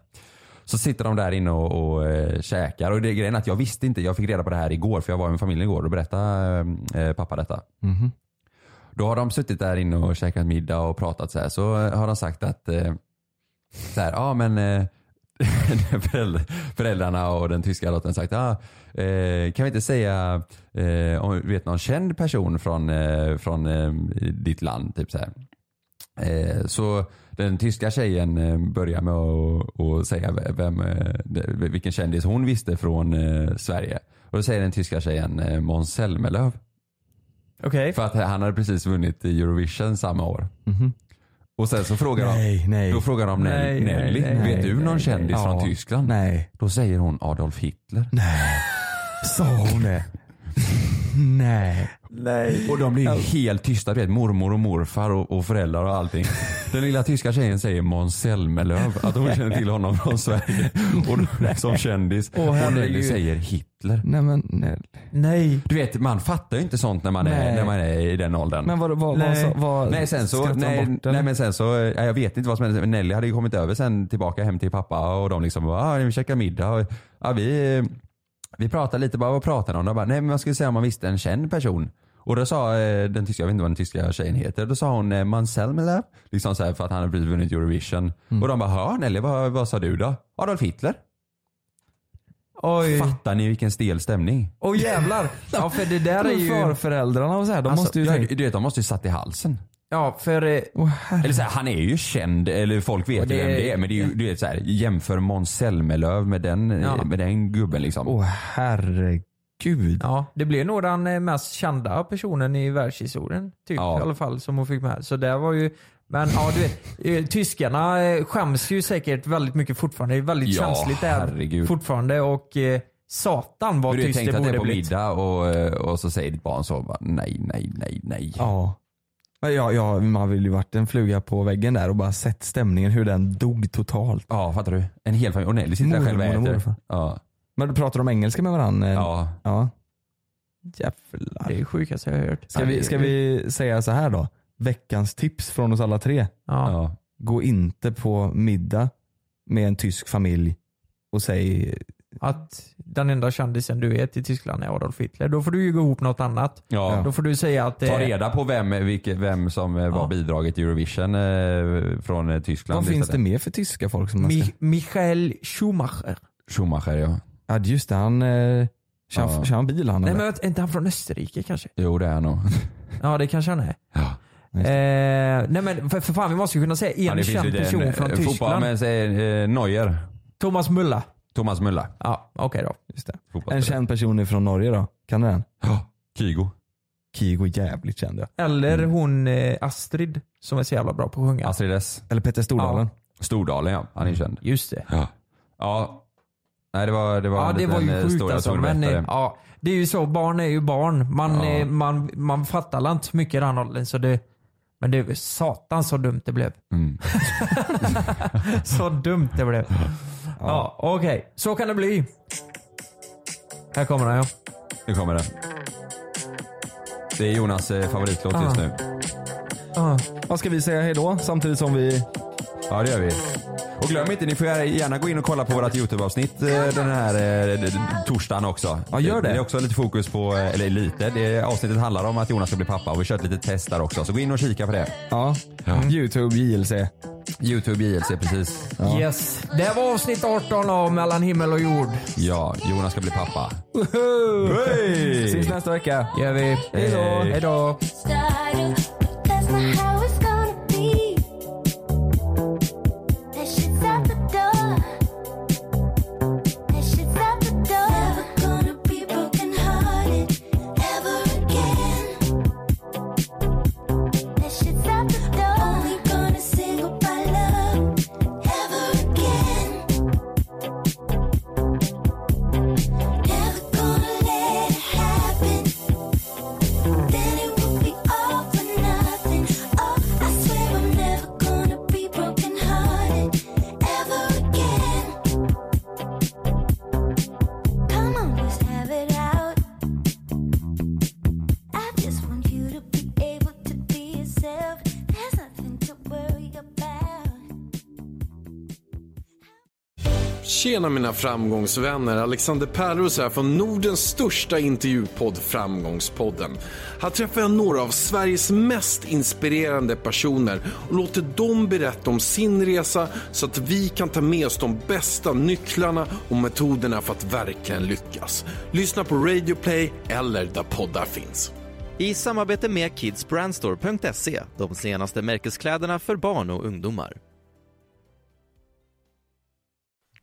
Speaker 5: Så sitter de där inne och, och eh, käkar. Och det är grejen att jag visste inte, jag fick reda på det här igår för jag var med familjen igår och berättade eh, pappa detta. Då har de suttit där inne och käkat middag och pratat så här. Så eh, har de sagt att eh, så här, ja men eh, föräldr- föräldrarna och den tyska dottern sagt, ah, eh, kan vi inte säga eh, om vi vet någon känd person från, eh, från eh, ditt land? Typ så här. Eh, så den tyska tjejen eh, börjar med att att säga v- vem, eh, de- vilken kändis hon visste från eh, Sverige. Och då säger den tyska tjejen eh, Måns Zelmerlöw.
Speaker 7: Okej.
Speaker 5: För att han hade precis vunnit Eurovision samma år. Och sen så frågar de,
Speaker 6: Nej, nej.
Speaker 5: då frågar de Nell-
Speaker 7: Mhm. Nej, nej,
Speaker 5: Nelly,
Speaker 7: nej,
Speaker 5: vet du någon kändis
Speaker 6: nej.
Speaker 5: från
Speaker 6: Ja.
Speaker 5: Tyskland?
Speaker 6: Nej.
Speaker 5: Då säger hon Adolf Hitler.
Speaker 6: Sa hon det? Nej.
Speaker 5: Och de blir helt tysta, du vet, mormor och morfar och, och föräldrar och allting. Den lilla tyska tjejen säger Måns Zelmerlöw, att hon känner till honom från Sverige. Och då, som kändis. och Nelly
Speaker 7: herregud.
Speaker 5: säger Hitler.
Speaker 6: Nej men nej.
Speaker 7: Nej.
Speaker 5: Du vet, man fattar ju inte sånt när man, är,
Speaker 6: Nej.
Speaker 5: när man är i den åldern.
Speaker 6: Men vad, vad, vad,
Speaker 7: Nej.
Speaker 6: vad, Alltså, vad
Speaker 5: Nej, sen så,
Speaker 6: skrattade de
Speaker 5: nej,
Speaker 6: bort, eller?
Speaker 5: nej men sen så, eh, jag vet inte vad som hände. Men Nelly hade ju kommit över sen tillbaka hem till pappa och de liksom bara, ah, vi käkar middag. Och, ah, vi, eh, vi pratade lite bara, vad pratade de om? De bara, nej men man skulle säga om man visste en känd person. Och då sa eh, den tyska, jag vet inte vad den tyska tjejen heter, då sa hon eh, Manselmele, liksom så här för att han hade precis vunnit Eurovision.
Speaker 6: Mm.
Speaker 5: Och de bara, hör eller vad, vad sa du då? Adolf Hitler.
Speaker 7: Oj.
Speaker 5: Fattar ni vilken stel stämning?
Speaker 7: Åh jävlar! Ja för det där är ju... Alltså,
Speaker 6: Förföräldrarna och så här, de måste ju
Speaker 5: ja,
Speaker 6: tänka. Oh.
Speaker 5: du, du vet, de måste ju satt i halsen.
Speaker 7: Ja för... eh,
Speaker 5: Eller så här, han är ju känd, eller folk vet
Speaker 7: det-
Speaker 5: ju vem det är. Men det är ju, du vet, så här, jämför Måns Zelmerlöw med den, eh,
Speaker 7: Ja.
Speaker 5: med den gubben liksom.
Speaker 6: Åh herregud.
Speaker 5: Ja.
Speaker 7: Det blev nog den eh, mest kända personen i världshistorien. Typ
Speaker 5: Ja.
Speaker 7: i alla fall som hon fick med. Så det var ju... Men ja du vet, eh, tyskarna eh, skäms ju säkert väldigt mycket fortfarande. Det är väldigt
Speaker 5: Ja,
Speaker 7: känsligt det här
Speaker 5: herregud.
Speaker 7: fortfarande och eh, satan vad
Speaker 5: Hur du
Speaker 7: tyst
Speaker 5: tänkt
Speaker 7: det
Speaker 5: att det är
Speaker 7: borde
Speaker 5: på
Speaker 7: blivit.
Speaker 5: middag och, eh, och så säger ditt barn så bara, nej, nej, nej, nej.
Speaker 6: Ja. Men Ja, ja, man vill ju varit en fluga på väggen där och bara sett stämningen, hur den dog totalt.
Speaker 5: Ja, fattar du? En hel familj. Och Nelly sitter där
Speaker 6: Mormor
Speaker 5: själv och
Speaker 6: och
Speaker 5: äter.
Speaker 6: morfar.
Speaker 5: Ja.
Speaker 6: Men pratar de engelska med varandra?
Speaker 5: Ja.
Speaker 6: ja.
Speaker 7: Jävlar. Det är det sjukaste jag har hört.
Speaker 6: Ska, vi, ska vi säga så här då? Veckans tips från oss alla tre.
Speaker 7: Ja.
Speaker 5: ja.
Speaker 6: Gå inte på middag med en tysk familj och säg
Speaker 7: Att den enda kändisen du vet i Tyskland är Adolf Hitler. Då får du ju gå ihop något annat.
Speaker 5: Ja.
Speaker 7: Då får du säga att... eh,
Speaker 5: Ta reda på vem, vilke, vem som eh, var
Speaker 7: Ja.
Speaker 5: bidraget till Eurovision eh, från eh, Tyskland.
Speaker 6: vad finns det
Speaker 5: istället.
Speaker 6: mer för tyska folk som man ska...
Speaker 7: Mi- Michael Schumacher.
Speaker 5: Schumacher ja.
Speaker 6: Ja just det, han eh, kör,
Speaker 5: Ja.
Speaker 6: han- kör han bil han?
Speaker 7: Nej
Speaker 6: eller?
Speaker 7: men är inte han från Österrike kanske?
Speaker 5: Jo det är han nog.
Speaker 7: Ja det kanske han är.
Speaker 5: Ja.
Speaker 6: Just
Speaker 7: Eh, nej men för, för fan vi måste ju kunna säga en
Speaker 5: det finns ju
Speaker 7: känd
Speaker 5: den,
Speaker 7: person från
Speaker 5: eh, Fotboll,
Speaker 7: Tyskland.
Speaker 5: men säg eh, Neuer.
Speaker 7: Thomas Müller.
Speaker 5: Thomas Müller.
Speaker 7: Ja okej då.
Speaker 6: Just det. En
Speaker 5: Fotbollsspelare.
Speaker 6: känd person är från Norge då? Kan du den?
Speaker 5: Ja, Kygo.
Speaker 6: Kigo jävligt känd ja.
Speaker 7: Eller hon eh, Astrid som är så jävla bra på att sjunga.
Speaker 5: Mm. Astrid S.
Speaker 6: Eller Petter Stordalen.
Speaker 5: Stordalen ja, han är känd.
Speaker 7: Just det.
Speaker 5: Ja. ja. Nej det var, det var
Speaker 7: Ja
Speaker 5: en
Speaker 7: det var
Speaker 5: liten,
Speaker 7: ju
Speaker 5: eh,
Speaker 7: sjukt
Speaker 5: historia
Speaker 7: alltså.
Speaker 5: som
Speaker 7: Men,
Speaker 5: berättade.
Speaker 7: eh, ja, det är ju så, barn är ju barn. Man, eh, man, man fattar väl inte så mycket i den åldern. Så det, men det är väl satan så dumt det blev.
Speaker 5: Mm.
Speaker 7: så dumt det blev. Ja, okej. Så kan det bli. Här kommer den ja.
Speaker 5: Nu kommer den. Det är Jonas eh, favoritlåt just nu.
Speaker 7: Ah.
Speaker 6: Vad ska vi säga hejdå samtidigt som vi...
Speaker 5: Ja det gör vi. Och glöm inte, ni får gärna gå in och kolla på vårt YouTube-avsnitt eh, den här eh, d- d- torsdagen också.
Speaker 6: Ja, gör det.
Speaker 5: Det är också lite fokus på, eh, eller lite, det avsnittet handlar om att Jonas ska bli pappa och vi kör ett litet test där också. Så gå in och kika på det.
Speaker 6: Ja. Youtube JLC.
Speaker 5: YouTube JLC precis.
Speaker 7: Yes. Det här var avsnitt 18 av Mellan himmel och jord.
Speaker 5: Ja, Jonas ska bli pappa.
Speaker 6: Hey. Ses nästa vecka.
Speaker 7: gör vi. Hejdå.
Speaker 5: Hej.
Speaker 7: Hejdå.
Speaker 12: That's not how it's gonna be. That shit's out the door. That shit's out the door. Never gonna be broken hearted ever again. That shit's out the door. Only gonna say goodbye, love, ever again. Never gonna let it happen. Then it will be all for nothing. Oh, I swear I'm never gonna be broken hearted ever again. Come on, let's have it out. I just want you to be able to be yourself. There's nothing to worry about.
Speaker 13: Tjena mina framgångsvänner, Alexander Pärlros här från Nordens största intervjupodd Framgångspodden. Här träffar jag några av Sveriges mest inspirerande personer och låter dem berätta om sin resa så att vi kan ta med oss de bästa nycklarna och metoderna för att verkligen lyckas. Lyssna på Radio Play eller där poddar finns.
Speaker 14: I samarbete med kidsbrandstore.se, de senaste märkeskläderna för barn och ungdomar.